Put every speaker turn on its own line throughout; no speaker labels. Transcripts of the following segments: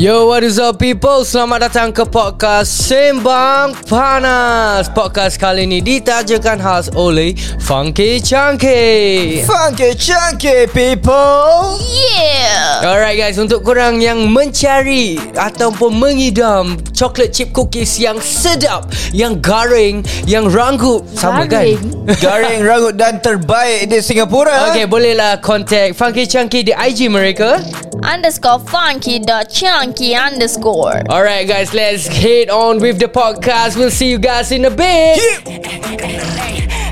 Yo, what is up people? Selamat datang ke podcast Sembang Panas. Podcast kali ini ditajakan khas oleh Funky Chunky.
Funky chunky people
Alright guys, untuk korang yang mencari ataupun mengidam coklat chip cookies yang sedap, yang garing, yang ranggup. Sama
Garing?
kan?
Garing rangut dan terbaik di Singapura
Okay, bolehlah contact Funky Chunky di IG mereka.
Underscore funky dot chunky underscore.
Alright guys, let's head on with the podcast. We'll see you guys in a bit.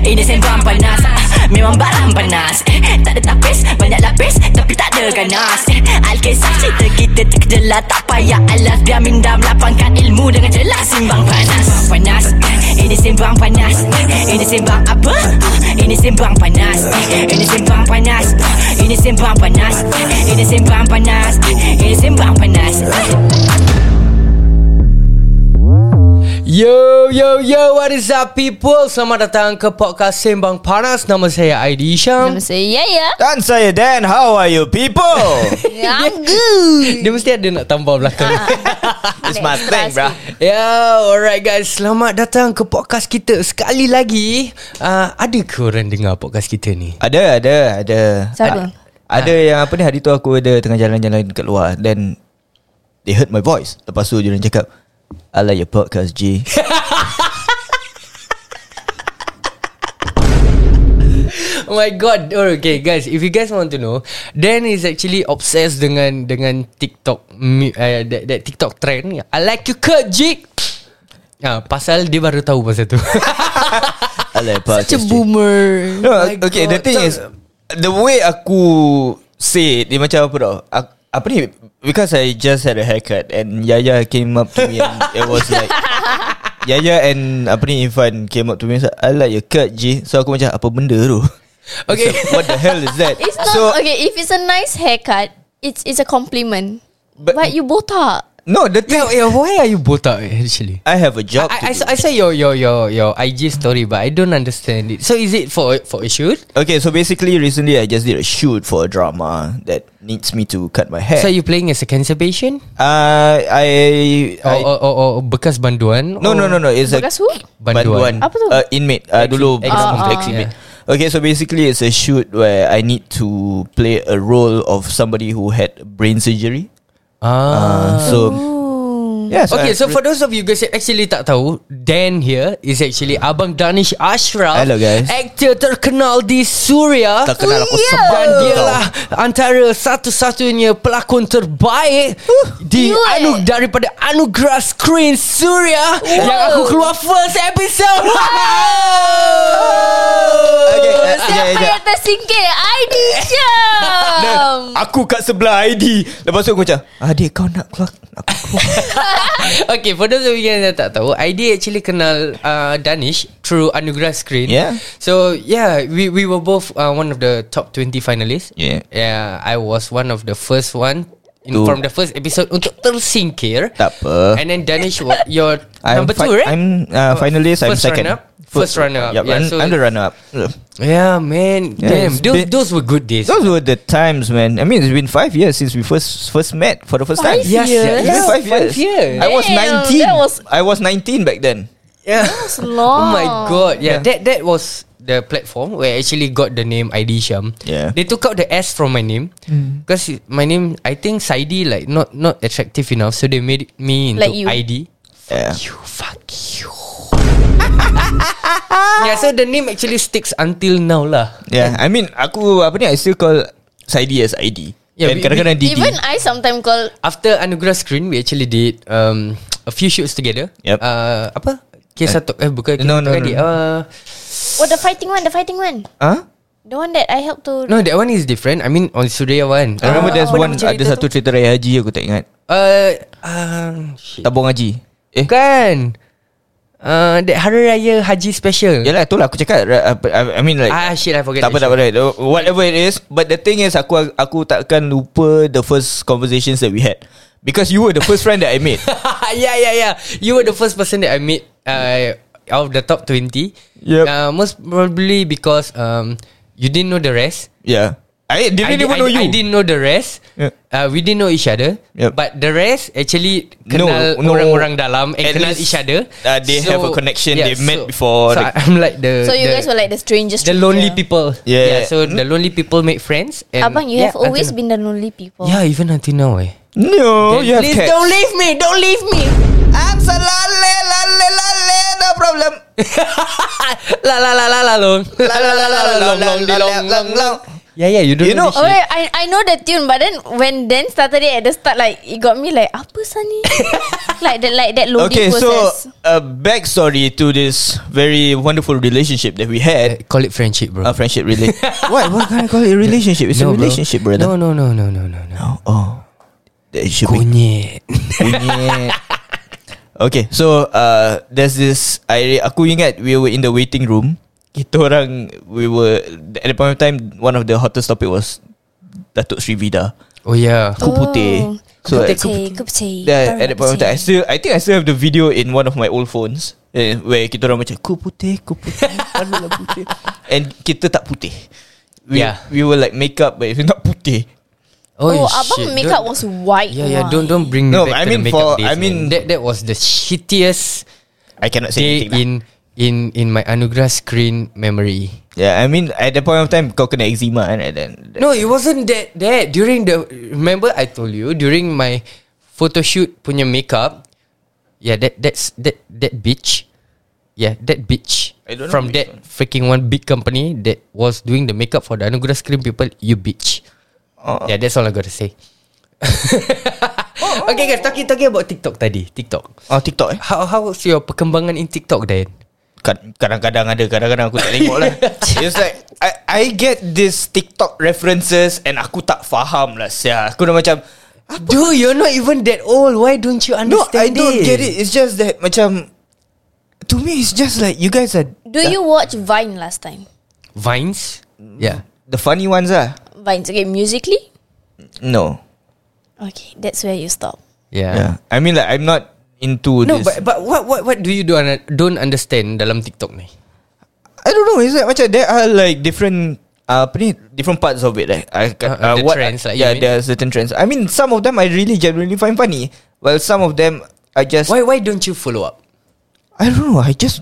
Eh, Ini sembang panas Ah, Memang barang panas Eh, Tak ada tapis Banyak lapis Tapi tak ada ganas Eh, Alkisah cerita kita terkejelah Tak payah alas Biar minda melapangkan ilmu Dengan jelas Simbang panas Sembang panas Eh, Ini sembang panas Eh, Ini sembang apa? Ah, Ini sembang panas Eh, Ini sembang panas Ah, Ini sembang panas Eh, Ini sembang panas Eh, Ini sembang panas Ah.
Yo, yo, yo, what is up people? Selamat datang ke podcast Sembang Panas. Nama saya Aidy Syam.
Nama saya Yaya.
Dan saya Dan How are you people?
I'm good.
Dia mesti ada nak tambah belakang.
It's my thing bruh
Yo, alright guys. Selamat datang ke podcast kita. Sekali lagi, uh, ada ke orang dengar podcast kita ni?
Ada ada ada
Siapa?
A- Ada yang apa ni Hari tu aku ada Tengah jalan-jalan kat luar Then They heard my voice Lepas tu dia orang cakap I like your podcast G
Oh my god. Oh, Okay guys, if you guys want to know, Dan is actually obsessed dengan dengan TikTok mu- uh, that, that TikTok trend. I like you Kurt Jig. Ah, pasal dia baru tahu pasal tu.
I like your podcast G
boomer.
No,
My
okay, the
God.
thing
Tak-
is the way aku say it, dia macam apa tau? Aku, apa ni? Because I just had a haircut and Yaya came up to me and it was like Yaya and apa ni Irfan came up to me and said, I like your cut G. So aku macam apa benda tu?
Okay.
So, what the hell is that?
It's not
so
okay. If it's a nice haircut, it's it's a compliment.
But-
But, you botak.
no, the thing
yeah, yeah, why are you botak actually?
I have a job. to do.
I, I, saw- I saw your your your your IG story, but I don't understand it. So is it for for a shoot?
okay, so basically recently I just did a shoot for a drama that needs me to cut my hair.
So you playing as a cancer patient
uh, I,
or
I
or, or, or bekas banduan?
no
or
no no no. It's a
Bekas who?
Banduan.
banduan.
Apa tu?
Uh, inmate. Uh, dulu
Ex-
kampung
ex-
ex-inmate. Okay, so basically it's a shoot where I need to play a role of somebody who had brain surgery.
Ah.
Uh, so
Oh.
yeah. I-
okay, so for those of you guys yang actually tak tahu, Dan here is actually Abang Danish Ashraf.
Hello, guys.
Aktor terkenal di Suria.
Terkenal aku
Yeah.
sebab
Dan
tu
dia
tau.
lah antara satu-satunya pelakon terbaik
Uh,
di
you eh.
anu daripada Anugerah Screen Suria yang aku keluar first episode.
Okay, uh,
Oh, Siapa
sekejap,
yang tersingkir? ID Syam.
sekejap. Aku kat sebelah ID Lepas tu aku macam Adik kau nak keluar nak keluar.
okay, for those of you yang tak tahu, ID actually kenal uh, Danish through Anugerah Screen.
Yeah.
So yeah, we we were both uh, one of the top 20 finalists.
Yeah.
Yeah, I was one of the first one in,
Tu.
from the first episode untuk tersingkir.
Tak apa.
And then Danish, wa- your
I'm
number
fi-
two, right?
I'm uh, finalist I'm
First
second
runner-up? First runner-up,
Yup,
yeah,
I'm,
so-
I'm the runner up
yeah, man.
Yeah,
Damn,
it's
those,
been-
those were good days.
Those were the times man I mean it's been 5 years Since we first first met For the first time
Five
Yes,
years?
Yeah,
yes,
five years. I was
Damn,
19.
that was-
I was 19 back then.
yeah.
That's
Oh
long.
my god.
Yeah.
Yeah, that that was the platform where I actually got the name ID Syam.
Yeah.
They took out the S from my name because my name I think Saidi like not not attractive enough, so they made it- me into
Like you.
ID.
Yeah.
You fuck you. yeah, so the name actually sticks until now lah.
Yeah. I mean, aku apa ni? I still call Saidi as ID.
Yeah,
Yeah, And
we-
kadang-kadang DD.
Even I sometimes call
After Anugerah Screen, we actually did um a few shoots together.
Yep.
Uh, apa? Kisah Tok eh bukan
No, no,
Kisah Tok
no.
Adik. Uh,
what oh, the fighting one, the fighting one,
Huh?
the one that I helped to.
no, that one is different. I mean on Surya one.
I remember there's
Ah, apa
one
nama cerita
ada
tu?
satu cerita raya haji aku tak ingat.
Uh, uh, shit.
Tabung haji. Eh,
Bukan uh, That Hari Raya Haji Special
yalah itulah aku cakap. Ra- apa- I I mean like
Ah shit I forget
tak apa tak
that
apa right. Whatever it is But the thing is Aku aku takkan lupa The first conversations that we had Because you were the first friend that I made
shit. Yeah yeah yeah You were the first person that I met uh, Out of the top 20
Yep.
uh, Most probably because um, You didn't know the rest
Yeah I didn't
I, di-
even
I,
know
di-
you.
I didn't know the rest.
Yeah.
Uh, we didn't know each other.
Yeah.
But the rest actually
No,
kenal
no.
orang-orang dalam and
At
kenal
least,
each other.
uh, they have a connection. They met before
So
the-
I'm like the
So you
the,
guys were like the strangest.
the lonely people.
Yeah. Hmm?
yeah. So the lonely people make friends. And
Abang, you
yeah,
have always
until-
been the lonely people.
Yeah, even until now eh.
No, Oh, you have
Please
cats.
don't leave me. Don't leave me.
Absolutely, lale, lale, no problem.
La la la la la long.
La, la, la, la, la, la, la, la, la, la.
Yeah yeah, you don't
You
know.
know-
this
Oh,
shit.
wait, I I know the tune, but then when Dan started it at the start, like it got me like apa sah ni? like that, like that lonely
Okay, so
process.
a backstory to this very wonderful relationship that we
Uh,
had.
Call it friendship, bro.
A friendship, really. what? What can I call it? A relationship? Uh, It's a
bro.
relationship, brother.
No no no no no no no.
Oh, it should be
Kunyit.
Kunyit. Okay so uh, There's this I Aku ingat We were in the waiting room Kita orang We were At the point of time One of the hottest topic was Datuk Sri Vida
Oh yeah.
Ku putih So
Kup
at,
Oh. putih, kup putih.
yeah, at
Barang
the point of time I,
putih.
still, I think I still have the video In one of my old phones eh, Where kita orang macam Ku putih Ku putih Panulah putih And kita tak putih We,
Yeah.
we were like makeup But it's not putih
Oh,
shit.
abang
Don't-
makeup was white.
Yeah, yeah.
why?
Don't don't bring me
No,
back
I
to
mean
the makeup
for-
days.
I mean-
man. that that was the shittiest
I cannot say
day
anything lah.
in in in my anugerah screen memory.
Yeah, I mean at the point of time kau kena eczema kan and then
No, it wasn't that that during the remember I told you during my photo shoot punya makeup. Yeah, that that's that that bitch. Yeah, that bitch.
I don't know
From
which
that freaking one big company that was doing the makeup for the Anugerah Screen people, you bitch.
Oh.
Yeah, that's all I gotta say. okay guys, talking talking about TikTok tadi, TikTok.
Oh TikTok eh
How how's your perkembangan in TikTok then?
Kad- Kadang-kadang ada Kadang-kadang aku tak tengok lah It's like I, I get this TikTok references And aku tak faham lah sia. Aku dah macam
Dude, you're not even that old. Why don't you
No I
understand
don't
this?
get it It's just that macam To me it's just like You guys are
Do you watch Vine last time?
Vines? Yeah.
The funny ones ah. lah
Vines, okay, musically.
No
Okay, that's where you stop.
Yeah.
yeah. I mean like I'm not Into
No,
this
but but what what what do you do don't understand dalam TikTok ni?
I don't know. It's like macam there are like different uh, apa ni different parts of it. Like, I, uh,
Uh, the
what,
trends lah, you
yeah,
mean?
there are certain trends. I mean, some of them I really genuinely find funny. While some of them I just
Why why don't you follow up?
I don't know. I just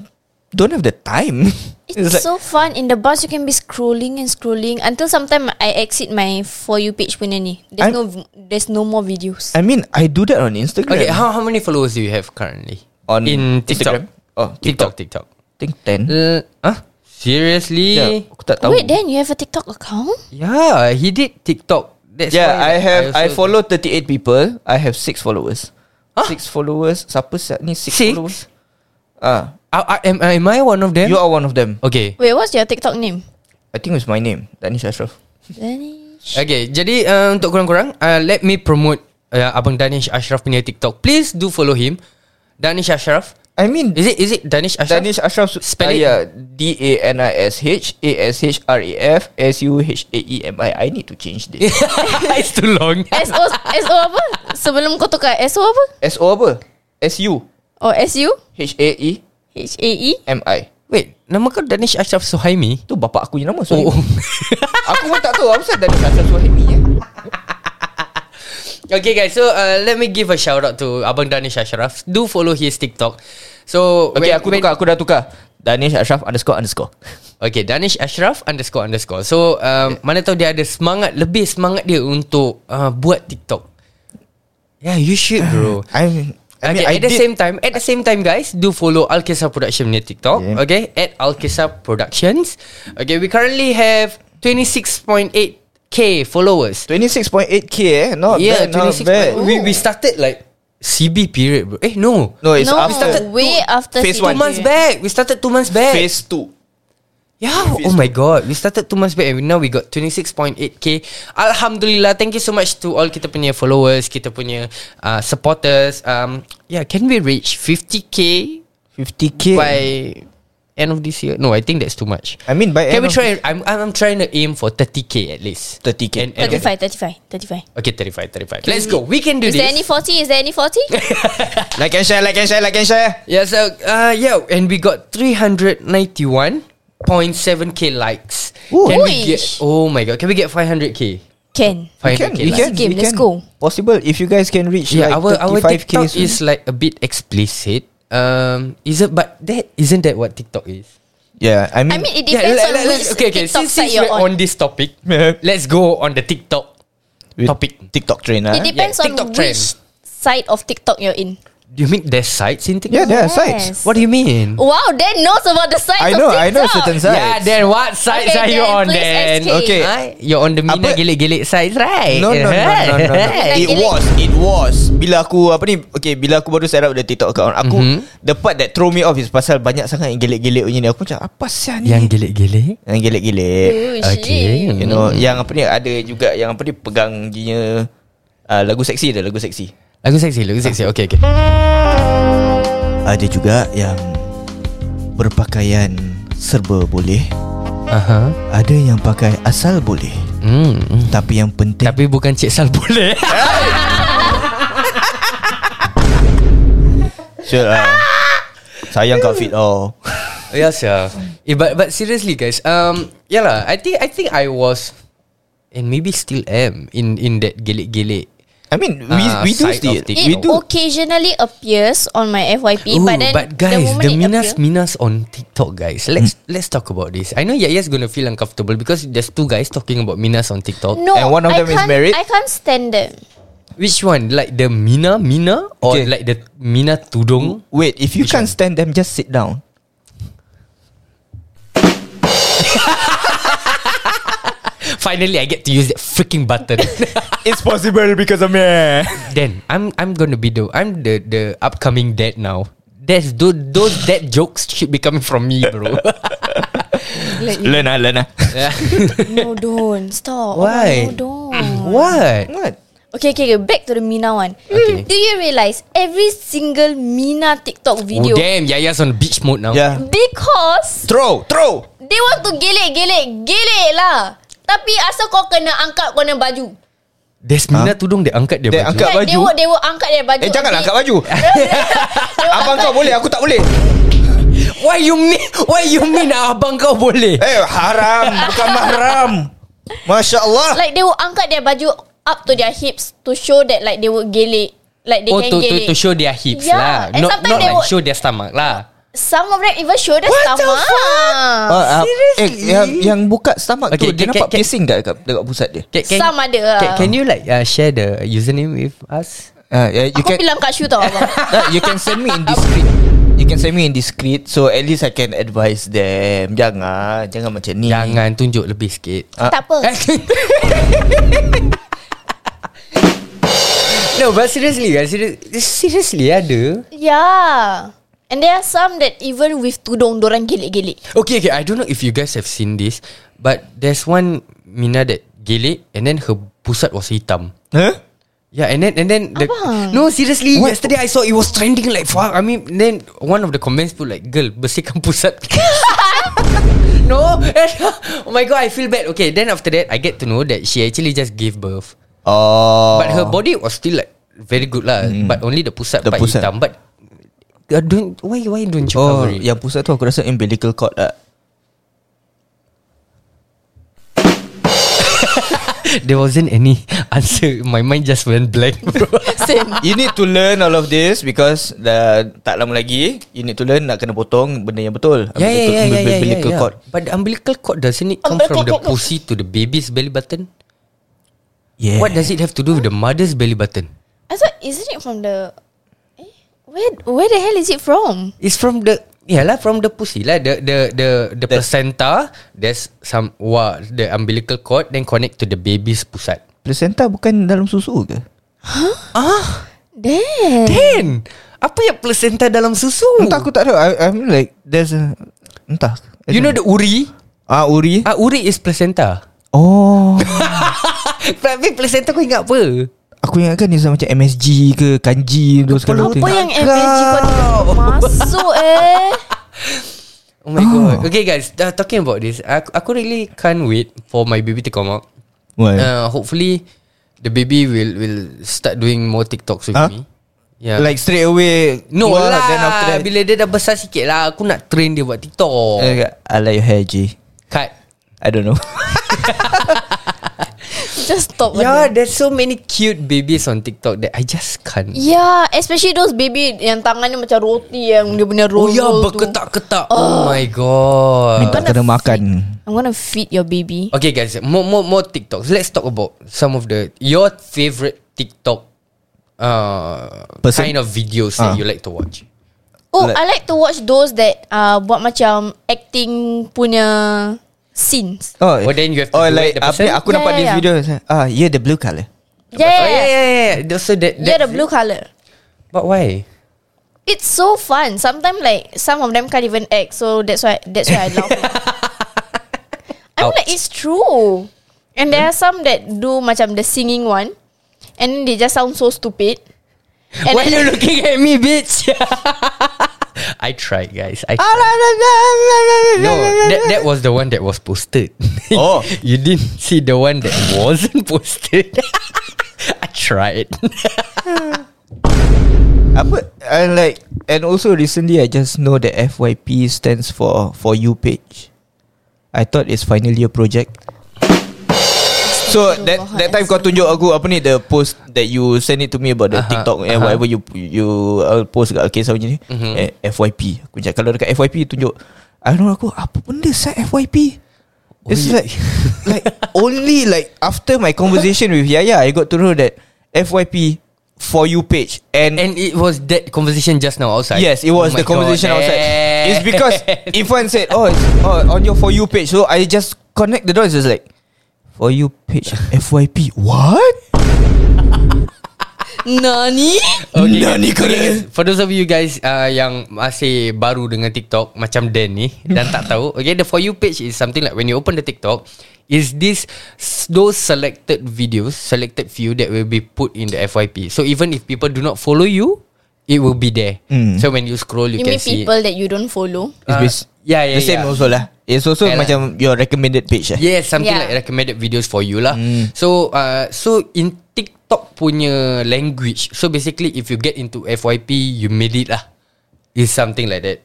don't have the time.
It's, so fun in the bus. You can be scrolling and scrolling until sometime I exit my for you page punya ni. There's
I'm-
no v- there's no more videos.
I mean, I do that on Instagram.
Okay, how how many followers do you have currently
On
in
Instagram?
TikTok?
Oh,
TikTok TikTok.
I think ten.
Uh, huh? Seriously?
Yeah, aku tak tahu.
Wait, then you have a TikTok account?
Yeah, he did TikTok. That's
yeah, I
why
have I,
also-
follow 38 people. I have six followers.
Huh?
Six followers. Siapa siap ni six,
Six?
followers? Ah,
I, I, am, am I one of them?
you are one of them.
okay.
Wait, what's your TikTok name?
I think it's my name, Danish Ashraf.
Danish.
Okay, jadi uh, untuk korang-korang, uh, let me promote uh, Abang Danish Ashraf punya TikTok. Please do follow him. Danish Ashraf.
I mean,
Is it is it Danish Ashraf?
Danish Ashraf
Spell
Spell
it.
yeah, D A N I S H A S H R A F S U H A E M I. I need to change this.
it's too long.
SO SO apa? Sebelum kau tukar SO apa?
S O apa? S U
Or SU?
H A E
H A E?
M I.
Wait, nama kau Danish Ashraf Suhaimi?
Tu bapa aku yang nama so.
Oh.
Oh. aku pun tak tahu apa pasal Danish Ashraf Suhaimi eh.
okay guys, so uh, let me give a shout out to Abang Danish Ashraf. Do follow his TikTok. So
Okay,
when-
aku
when-
tukar, aku dah tukar. Danish Ashraf underscore underscore.
Okay Danish Ashraf Underscore underscore So um, Mana tahu dia ada semangat Lebih semangat dia Untuk uh, Buat TikTok Yeah you should bro
I'm I mean,
Okay,
I
at the
did-
same time, at the same time, guys, do follow Alkisah Production near TikTok.
Yeah.
Okay, at Alkisah Productions. Okay, we currently have twenty six point eight k followers.
26.8k eh. Not
yeah, oh.
bad, not
26
bad.
We we started like CB period, bro. Eh no,
No, it's
no,
after
way after
phase
two
one.
months back. We started two months back.
phase 2.
Yeah. oh my god. We started two months back and now we got 26.8k. Alhamdulillah. Thank you so much to all kita punya followers, kita punya uh, supporters. Um, yeah, can we reach 50k
50k.
by end of this year? No, I think that's too much.
I mean by end
can
of
we try? I'm I'm I'm trying to aim for 30k at least.
30K.
And, and
35, 35, 35.
Okay, 35, 35. Let's go. We can do
Is
this.
there any 40? Is there any 40?
Like and share, like and share, like and share.
Yeah, so uh, yeah, and we got 391.7k likes.
Ooh.
Can we get
Oish.
Oh my god Can we get 500k
Can.
We
500k
we
lah.
can. Game,
we
let's
can.
go.
Possible if you guys can reach
Yeah
like
our, our
35k
TikTok
soon.
is like a bit explicit um, is it, but that isn't that what TikTok is?
Yeah, I mean,
I mean, it depends
let- let-
on
let's-
which
okay, okay.
TikTok
Since,
site
since
you're
we're
on.
on this topic, let's go on the TikTok
with
topic.
TikTok train lah.
It depends on
TikTok trend.
which side of TikTok you're in.
Do you mean there's sites in
Yeah,
TikTok?
there are
Yes.
sites.
What do you mean?
Wow, Dan knows about the sites
I
of
know,
TikTok.
I know certain sites.
Oh, Yeah, then what sites
Okay,
are you
then
on
please
then?
SK.
Okay.
Huh? You're on the Mina
Apa-
gelik-gelik sites, right?
No, no, no, no, no, no.
Right.
It was, it was. Bila aku apa ni? Okay, bila aku baru set up the TikTok account, aku
Mhm.
the part that throw me off is pasal banyak sangat yang gelik-gelik punya ni. Aku macam apa sih ni?
Yang gelik-gelik?
yang gelik-gelik.
Oh,
Okay.
shit.
You know, yang apa ni ada juga yang apa ni pegang dia uh, lagu seksi dah, lagu seksi.
Lagu seksi, lagu seksi. Okay, okay.
Ada juga yang berpakaian serba boleh.
Aha.
Ada yang pakai asal boleh.
Hmm.
Tapi yang penting
Tapi bukan Cik Sal boleh.
Sure lah Sayang kau fit oh. all
Yes, yeah. Eh, but but seriously, guys. Um, yeah lah. I think I think I was, and maybe still am in in that gelik-gelik.
I mean we
Ah,
we do
side
still
of TikTok.
we
It
do
occasionally appears on my FYP,
Ooh,
but then
but guys,
the, moment
the,
it
minas
appear-
minas on TikTok, guys. Let's let's talk about this. I know Yaya's gonna feel uncomfortable because there's two guys talking about minas on TikTok.
no,
and one of
I
them is
can't-
married?
I can't stand them.
Which one? Like the mina mina or
Okay.
like the mina tudung?
Wait if you can't stand them Just sit down
Finally, I get to use that freaking button.
It's possible because of me
then I'm I'm gonna be the I'm the the upcoming dad now. That's those those dad jokes should be coming from me, bro.
Learn lah learn lah
No, don't stop. Oh,
Why?
No, don't.
what?
What?
Okay, okay, okay. Back to the Mina one. Mm,
Okay.
Do you realize every single Mina TikTok
Oh,
video
damn, Yaya's on beach mode now.
Yeah
because
Throw Throw
they want to gelik, gelik, gelik lah. Tapi asal kau kena angkat kau kena baju.
There's mina tudung dia angkat dia.
Dia
baju.
angkat.
Like, They
baju?
will, they will angkat dia baju.
Eh janganlah angkat baju
They will
Abang
angkat-
kau boleh Aku tak boleh
Why you mean? Why you mean ah, abang kau boleh?
Eh haram Bukan mahram Masya Allah
Like they will angkat their baju up to their hips to show that like they would gelik. Like they
oh, to, to,
can gelik.
to show their hips
Yeah,
lah.
and
Not,
sometimes
not
they
like
would-
show their stomach lah.
Some of them even show the
What the
stomach.
Ah, ah,
seriously?
eh, yang, yang buka stomach tu
Okay,
Dia
can-
nampak
can-
piercing tak dekat, dekat pusat dia
Can, can,
Some ada lah.
Can, can you like uh, share the username with us?
Ah, yeah, you
Aku
can,
bilang kat Shu tau abang.
Nah, you can send me in discreet. You can send me in discreet so at least I can advise them. Jangan, jangan macam ni.
Jangan tunjuk lebih sikit.
Ah.
tak apa.
Eh. no, but seriously guys, serious, seriously ada.
Yeah. Ya. And there are some that even with tudung dorang gelik-gelik.
Okay, okay, I don't know if you guys have seen this, but there's one Mina that gelik and then her pusat was hitam.
Huh?
Yeah, and then and then the,
Abang.
no seriously yesterday I saw it was trending like fuck. I mean then one of the comments put like girl bersihkan pusat. no, and, oh my god, I feel bad. Okay, then after that I get to know that she actually just gave birth,
Oh.
but her body was still like very good lah. But only the pusat
The
part
pusat.
hitam. But uh, don't why why don't you
Oh,
cover it?
yang pusat tu aku rasa umbilical cord lah.
There wasn't any answer. My mind just went blank, bro.
Same.
You need to learn all of this because dah tak lama lagi you need to learn nak kena potong benda yang betul.
Yeah, yeah, yeah, yeah, yeah, yeah,
umbilical
yeah.
cord.
But the umbilical cord doesn't it come from the pussy to the baby's belly button?
Yeah.
What does it have to do with the mother's belly button?
I thought isn't it from the eh? Where where the hell is it from?
It's from the yeah lah from the pussy lah the the the the
That's-
placenta. There's some wah the umbilical cord then connect to the baby's pusat.
placenta bukan dalam susu ke?
Ah.
Damn.
Then apa yang placenta dalam susu?
Entah aku tak tahu. I, I'm like there's a entah.
You know the uri?
ah uri.
Ah uri is placenta.
Oh.
Tapi placenta kau ingat apa?
Aku ingatkan ni macam MSG ke Kanji Those kind of thing
Apa yang MSG kau tiba-tiba masuk eh?
Oh my god. Okay guys, uh, talking about this, aku, aku really can't wait for my baby to come out.
Why?
Uh, hopefully the baby will will start doing more TikToks with
Huh?
me. Yeah.
Like straight away
uh. No
keluar,
lah
Then after that
Bila dia dah besar sikit lah Aku nak train dia buat TikTok
Eh, I like your hair G
Cut
I don't know
Just stop
Yeah,
yeah.
Ya, there's so many cute babies on TikTok that I just can't.
yeah Ya, Especially those baby Yang tangan dia macam roti Yang dia punya
Oh
roll
yeah,
roll tu.
berketak-ketak. Oh my god.
Minta
gonna
kena
feed-
makan
I'm gonna feed your baby
Okay guys, more more more TikToks. Let's talk about some of the your favorite TikTok uh
Person?
kind of videos that
Ah.
you like to watch.
Oh
Like-
I like to watch those that uh, Buat macam Acting punya Scenes
Oh,
Well, then you have to
oh,
do
like
it the person.
apa, Aku
Yeah,
nampak
yeah,
this
yeah.
video Ah, yeah the blue colour
Oh, yeah,
Yeah
yeah, yeah, yeah. So that,
Yeah the
that's
blue
it.
colour
But why?
It's so fun. Sometimes like some of them can't even act, so that's why that's why I love it. I'm like it's true. And there are some that do macam the singing one, and then they just sound so stupid. And
why
then-
you looking at me, bitch? I tried, guys. I tried. No, that, that was the one that was posted.
Oh.
you didn't see the one that wasn't posted. I tried.
Apa I like And also recently I just know that FYP stands for For you page I thought it's final year project So that that time kau tunjuk aku Apa ni the post That you send it to me About the
Aha,
TikTok And
aha. Mhm.
whatever you You uh, post kat Kisah macam ni Eh, FYP Aku cakap Kalau dekat FYP tunjuk I don't know aku Apa benda sah FYP
Oh,
It's like Like only like After my conversation with Yaya I got to know that FYP For you page And
And it was that conversation just now outside.
Yes, it was
Oh
the
my
conversation
God.
outside. It's because Ifan said, oh, it's, oh, on your for you page. So I just connect the dots. It's like for you page FYP. What?
Nani?
Okay,
Nani
guys. Okay,
kena?
guys. For those of you guys uh, yang masih baru dengan TikTok macam Dan ni dan tak tahu, okay, the for you page is something like when you open the TikTok, is this s- those selected videos, selected few that will be put in the FYP. So even if people do not follow you, it will be there.
Mm.
So when you scroll, you,
You
can
mean
see.
people that you don't follow?
It's
Uh,
bas-
yeah,
the
yeah,
same
yeah.
also lah. It's also
Yeah lah.
macam your recommended page. Eh?
Yes, something
Yeah.
like recommended videos for you lah. So, uh, so in TikTok punya language, so basically if you get into FYP, you made it lah. Is something like that.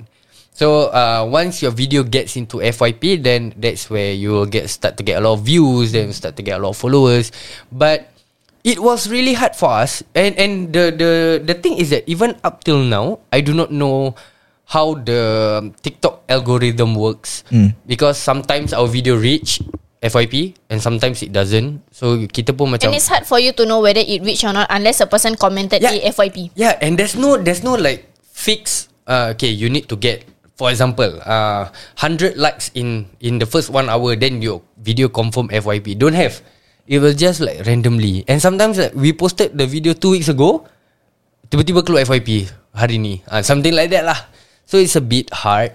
So, uh, once your video gets into FYP, then that's where you will get start to get a lot of views, then start to get a lot of followers. But it was really hard for us, and and the the the thing is that even up till now, I do not know how the TikTok algorithm works because sometimes our video reach FYP and sometimes it doesn't. So kita pun macam
And it's hard for you to know whether it reached or not unless a person commented
Yeah.
yeah. FYP.
Yeah, and there's no there's no like fix. Uh, okay, you need to get for example, uh, hundred likes in in the first one hour, then your video confirm FYP. Don't have. It will just like randomly. And sometimes like, we posted the video two weeks ago, tiba-tiba keluar FYP hari ni. Uh, something like that lah. So it's a bit hard.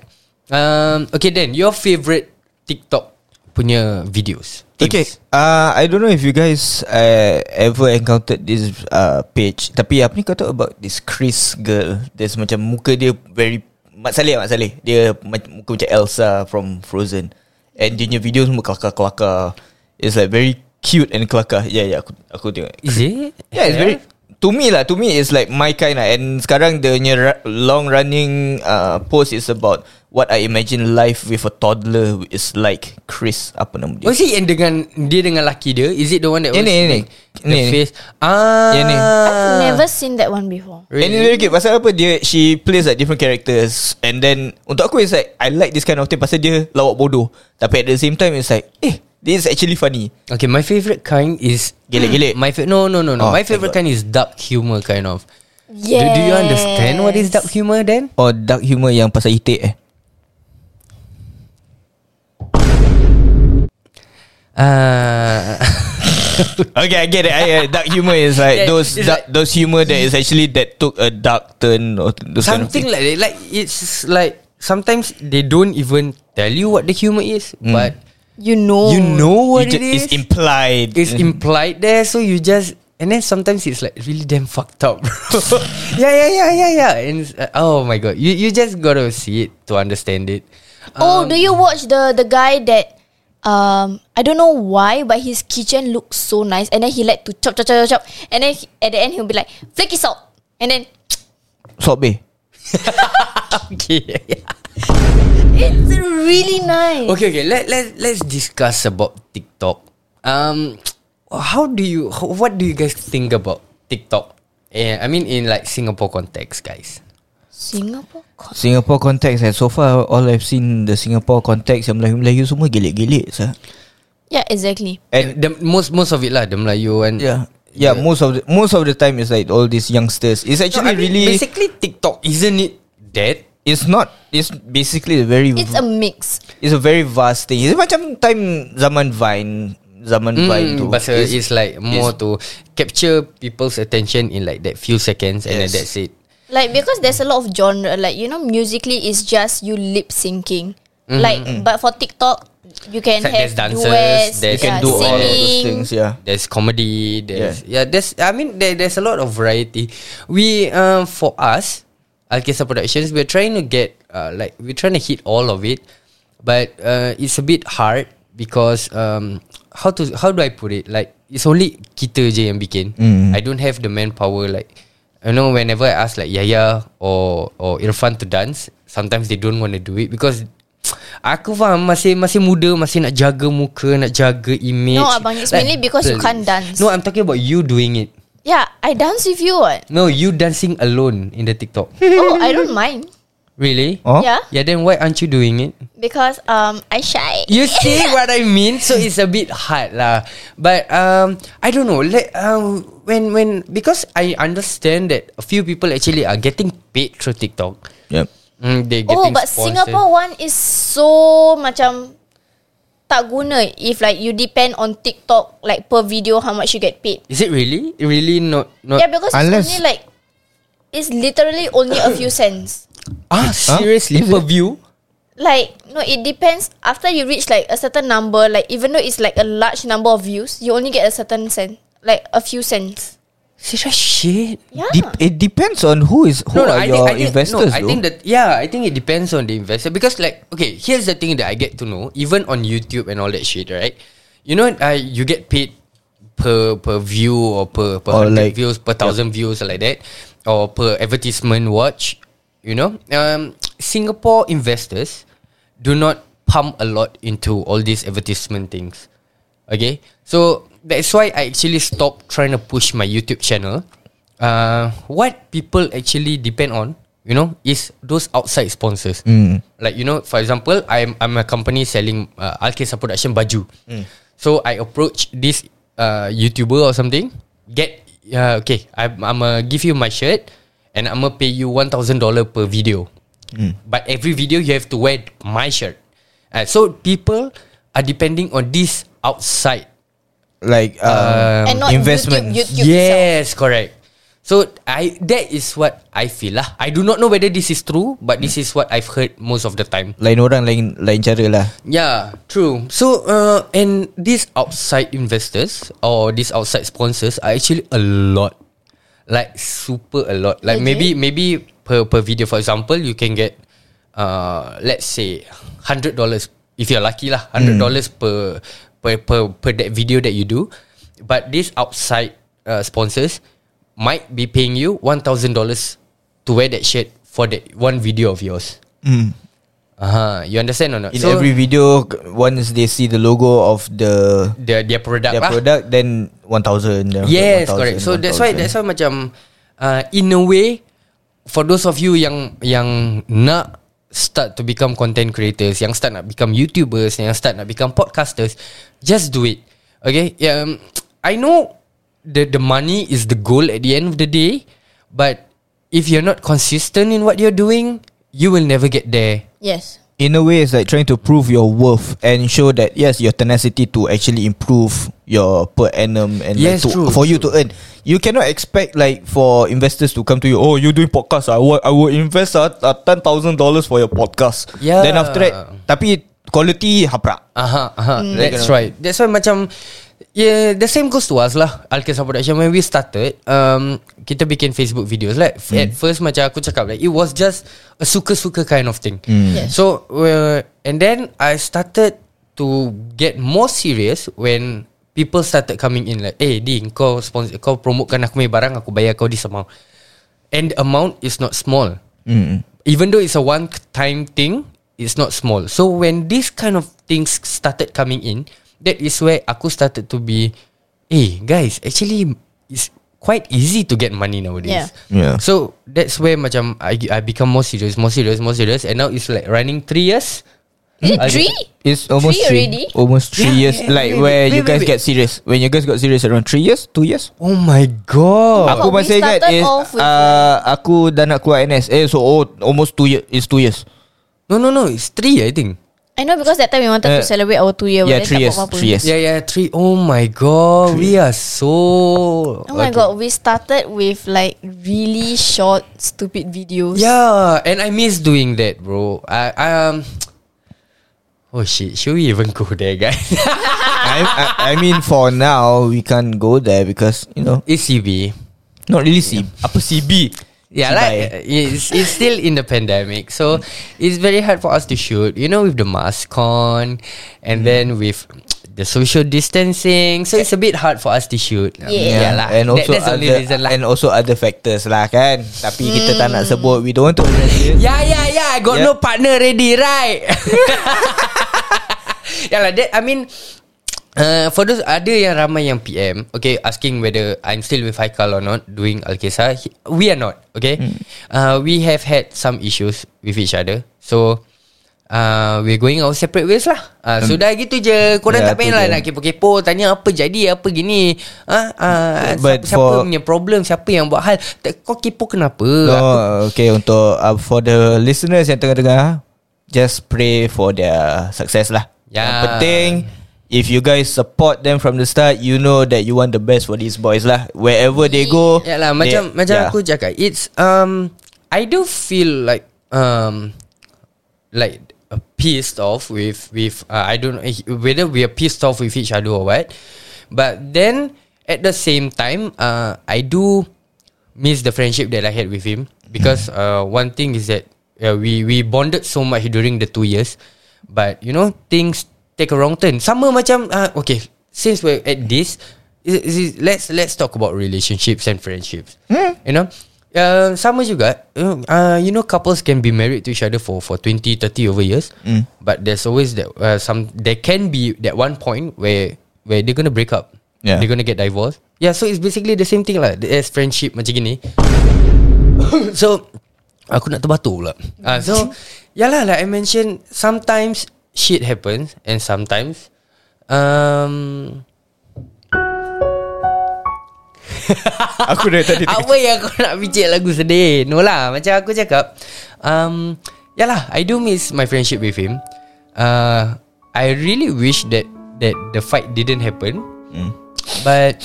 Um, okay then, your favorite TikTok punya videos. Tips.
Okay. Uh, I don't know if you guys uh, ever encountered this uh, page. Tapi apa ni kau tahu about this Chris girl? There's macam muka dia very Mat Saleh Mat Saleh. Dia ma- muka macam Elsa from Frozen. And dia punya video semua kelakar-kelakar. It's like very cute and kelakar. Yeah, yeah. Aku, aku tengok.
Is it?
Yeah, it's very to me lah. To me, it's like my kind lah. And sekarang the punya ra- long running uh, post is about what I imagine life with a toddler is like. Chris, apa nama dia?
Oh is it yang dengan Dia dengan laki dia Is it the one that
Ini,
was
ini.
The
Ini, ini.
face Ah
Ini.
I've never seen that one before.
Really? And it's very cute Pasal apa dia She plays like different characters And then Untuk aku it's like I like this kind of thing Pasal dia lawak bodoh Tapi at the same time It's like Eh This is actually funny
Okay my favourite kind is
Gelek-gelek.
My fa- No no no
Oh,
no My favourite kind
thank
is Dark humor kind of
Yeah.
do, do you understand What is dark humor then
Or Oh, dark humor yang pasal itik eh
Ah,
Okay I get it I, uh, Dark humor is like
Yeah,
Those
it's
dark,
like-
those humor that is actually That took a dark turn or those kind of
Something like that Like it's like Sometimes they don't even Tell you what the humor is But
You know.
You know what
Hmm. You
it
ju-
is
It's implied
It's implied there, so you just and then sometimes it's like really damn fucked up, bro. yeah, yeah, yeah, yeah, yeah. And it's, uh, oh my god, you you just gotta see it to understand it. Um,
Oh, do you watch the the guy that um I don't know why, but his kitchen looks so nice, and then he like to chop chop chop chop, chop, and then he- at the end he'll be like flaky salt, and then
Salt Bay
Okay, yeah, yeah.
It's really nice.
Okay, okay. Let let let's discuss about TikTok. Um, how do you? How, what do you guys think about TikTok? Yeah, I mean in like Singapore context, guys.
Singapore con-
Singapore context eh. So far all I've seen The Singapore context Yang Melayu-Melayu semua Gelik-gelik sah
Yeah, exactly.
And
the most most of it lah, the Melayu and
yeah Yeah most of the, Most of the time It's like all these youngsters It's
No, I
actually
mean,
really
basically TikTok isn't it dead?
It's not It's basically a
Mm-hmm.
very
It's a mix.
It's a very vast thing It's macam time Zaman Vine Zaman Vine tu
Mm, but uh, it's, like more
it's-
to capture people's attention in like that few seconds and then
Yes.
that's it.
Like because there's a lot of genre. Like you know, musically it's just you lip syncing. Like but for TikTok, you can
It's Mm-hmm. like
have
there's dancers,
duets,
there's-
You can
yeah,
do all those
singing.
things Yeah
There's comedy. There's yeah. there's I mean there, there's a lot of variety. We um for us, Alkesa Productions, we're trying to get uh, like we're trying to hit all of it, but uh, it's a bit hard because um how to how do I put it like it's only kita je yang bikin. I don't have the manpower like. You know, whenever I ask like Yaya or or Irfan to dance, sometimes they don't want to do it because aku faham masih masih muda, masih nak jaga muka, nak jaga image.
No, abang, it's mainly because you can't dance.
No, I'm talking about you doing it.
Yeah, I dance with you. What?
No, you dancing alone in the TikTok.
oh, I don't mind.
really?
Oh?
Yeah,
Yeah, then why aren't you doing it?
because um, I shy.
You see what I mean? So it's a bit hard lah. But um, I don't know. Like um, when when because I understand that a few people actually are getting paid through TikTok.
Yep
Mm, they
Oh,
getting
but
eh?
sponsored.
Singapore one is so macam tak guna if like you depend on TikTok like per video how much you get paid.
Is it really? Really not not
yeah, because
Uh, unless-
it's only like it's literally only a few cents.
Ah, seriously
Is it?
per view?
Like no, it depends. After you reach like a certain number, like even though it's like a large number of views, you only get a certain cent, like a few cents.
Serious shit.
Yeah.
Dep- It depends on who is Who are your investors
no, I
though.
think that yeah, I think it depends on the investor because like okay, here's the thing that I get to know even on YouTube and all that shit, right? You know, uh, you get paid per per view or per per
Or
hundred
like-
views, per thousand views or like that, or per advertisement watch. You know, um, Singapore investors do not pump a lot into all these advertisement things. Okay, so that's why I actually stopped trying to push my YouTube channel. Uh, what people actually depend on, you know, is those outside sponsors. Like you know, for example, I'm I'm a company selling uh, Alkesa Production baju. So I approach this uh, YouTuber or something. Get uh, okay, I'm I'ma give you my shirt, and I'ma pay you one thousand dollar per video. But every video you have to wear my shirt. Uh, so people are depending on this outside
like um,
And not
investments.
YouTube
yes, correct. So I that is what I feel lah. I do not know whether this is true, but this is what I've heard most of the time.
Lain orang lain lain cara lah.
Yeah, true. So uh, and these outside investors or these outside sponsors are actually a lot, like super a lot. Like maybe maybe per per video, for example, you can get uh let's say hundred dollars if you're lucky lah, hundred
Hmm.
dollars per per per per that video that you do. But these outside uh, sponsors might be paying you one thousand dollars to wear that shirt for that one video of yours. Mm. Uh-huh. You understand or not?
In every video k- once they see the logo of the
their their product
their
lah.
product then 1000 then
Yes,
1,000,
correct. So that's why
1,000.
that's why macam uh, in a way for those of you yang yang nak start to become content creators, yang start nak become YouTubers, yang start nak become podcasters, just do it. Okay? Yeah, Um, I know the the money is the goal at the end of the day, but if you're not consistent in what you're doing, you will never get there.
Yes.
in a way it's like trying to prove your worth and show that yes your tenacity to actually improve your per annum and like,
Yes,
to,
true,
for you to earn you cannot expect like for investors to come to you oh you doing podcast ah, I will, I will invest ah, ah, $10,000 for your podcast
Yeah.
then after that tapi quality haprak
Aha, aha. That's right. That's why macam yeah, the same goes to us lah. Alkesa Production when we started, um, kita bikin Facebook videos. Like mm. at first macam aku cakap like it was just a suka-suka kind of thing.
Yes.
So uh, and then I started to get more serious when people started coming in like, eh, Ding, kau sponsor, kau promotekan aku punya barang, aku bayar kau this Hmm. amount. And the amount is not small. Even though it's a one time thing, it's not small. So when this kind of things started coming in, that is where aku started to be, hey guys, actually it's quite easy to get money nowadays.
Yeah.
Yeah.
So that's where macam I I become more serious, more serious, more serious, and now it's like running three years.
Is it
I-
three?
It's almost
Three
three,
already?
almost three
Yeah,
years.
yeah,
like
wait,
where
wait,
you
wait,
guys
wait.
get serious. When you guys got serious around three years, two years.
Oh my god!
Aku
But Oh, we
masih ingat
started
is
off with
uh, aku dah nak keluar NS. Eh so oh, almost two years. It's two years.
No no no, it's three I think.
I know because that time we
Eh,
wanted to celebrate our two year. but
yeah,
then
three
Ya, tak
years.
buat apa-apa.
Three years.
Yeah yeah three. Oh my god, we are so.
Oh my god, we started with like really short, stupid videos.
Yeah, and I miss doing that, bro. I um. Oh shit! Should we even go there, guys?
I, I, I mean for now we can't go there because you know
it's CB.
not really C. Apa CB?
Yeah, like uh, it's, it's still in the pandemic, so it's very hard for us to shoot. You know, with the mask on, and
Mm.
then with the social distancing, so it's a bit hard for us to shoot. Um,
Yeah.
lah.
and
That-
also
that's the
other,
only reason lah.
and also other factors lah kan. Tapi kita
Hmm.
tak nak sebut. We don't want to address it.
Yeah, yeah, yeah. Ya, I got
Yeah.
no partner ready, right? yeah, like that. I mean, uh, for those ada yang ramai yang PM, okay, asking whether I'm still with Haikal or not doing Alkesa. He- We are not, okay.
Hmm.
Uh, we have had some issues with each other, so. Uh, we're going our separate ways lah uh, So dah gitu je Korang
Yeah,
tak payah
Um, ya, tu
lah
je.
nak kepo-kepo Tanya apa jadi Apa gini ah, ah,
But
siapa, siapa
for-
punya problem Siapa yang buat hal Tak- Kau kepo kenapa
No,
Aku
okay untuk uh, for the listeners yang tengah dengar, just pray for their success lah.
Yeah.
Yang penting if you guys support them from the start, you know that you want the best for these boys lah. Wherever they go.
Ya lah macam
they,
macam
yeah.
aku cakap it's um I do feel like um like uh, pissed off with with uh, I don't know eh, whether we are pissed off with each other or what but then at the same time uh I do miss the friendship that I had with him because uh one thing is that uh, we we bonded so much during the two years but you know things take a wrong turn sama macam uh, okay since we're at this is- is- let's let's talk about relationships and friendships you know uh, sama juga you know, uh, you know couples can be married to each other for for 20 30 over years but there's always that uh, some there can be that one point where where they're going to break up
Yeah.
they're going to get divorced yeah so it's basically the same thing lah as friendship macam gini So Aku nak terbatuk pula uh, So Yalah like I mentioned Sometimes Shit happens And sometimes Um,
aku dah tadi.
apa yang kau nak picit lagu sedih No lah Macam aku cakap um, Yalah I do miss my friendship with him uh, I really wish that That the fight didn't happen
Hmm.
But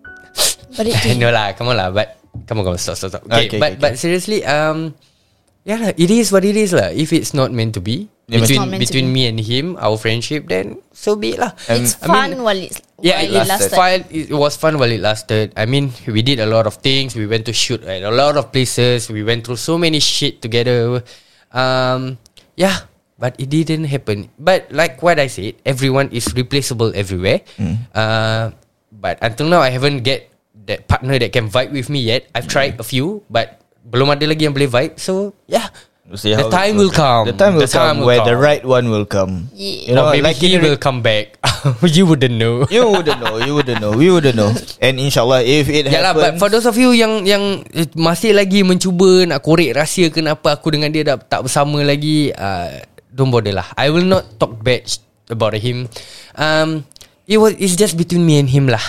But it did.
no lah, come on lah. But come on, come on, stop, stop, stop. Okay,
Okay, okay,
but
okay.
but seriously, um, yeah lah, it is what it is lah. If it's not meant to be
Yeah,
between
It's not meant to
between me
be.
and him, our friendship, then so be it lah.
Um,
It's
um, I
fun
mean-
while it's
yeah, it,
while
lasted. Fun, it was fun while it lasted. I mean, we did a lot of things. We went to shoot at a lot of places. We went through so many shit together. Um, yeah, but it didn't happen. But like what I said, everyone is replaceable everywhere.
Mm.
Uh, but until now, I haven't get that partner that can vibe with me yet. I've tried a few, but belum ada lagi yang boleh vibe. So yeah, Ya. the time will come.
The time will come where the right one will come.
Yeah.
You know,
or Oh, maybe
like
he
in a-
will come back. you wouldn't know.
You wouldn't know. You wouldn't know. We wouldn't know. And inshallah, if it
Ya lah
happens,
but for those of you yang yang eh, masih lagi mencuba nak korek rahsia kenapa aku dengan dia dah tak bersama lagi uh, don't bother lah I will not talk bad sh- about him um it was it's just between me and him lah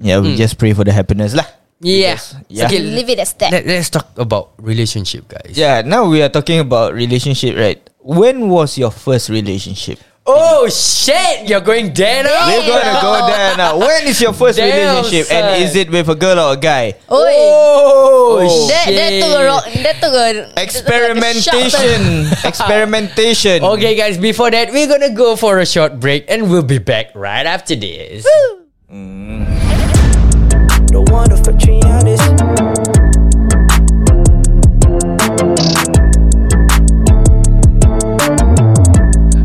yeah, we just pray for the happiness lah.
yeah,
Yeah.
okay
Leave it as that.
let, let's talk about relationship guys
Yeah, now we are talking about relationship, right? When was your first relationship?
oh shit you're going there now
We're gonna go there now. When is your first
Damn,
relationship,
son.
and is it with a girl or a guy?
Oi.
oh, shit
That that took a rock. That took a
Experimentation, experimentation.
Okay guys, before that we're gonna go for a short break and we'll be back right after this.
the one of Patriotis.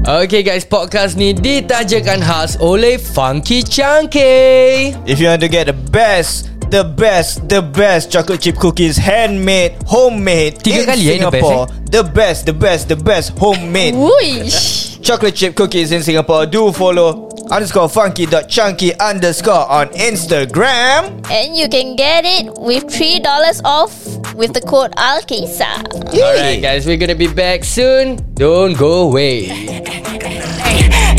Okay guys, podcast ni ditajakan khas oleh Funky Chunky.
If you want to get the best The best The best chocolate chip cookies Handmade Homemade in
Tiga kali, eh, the best,
Singapore the, best, the best The best Homemade
Whoosh.
Chocolate chip cookies in Singapore Do follow Underscore funky dot chunky Underscore on Instagram
And you can get it with $3 off with the code ALKISA.
Alright guys, we're gonna be back soon. Don't go away.
Eh,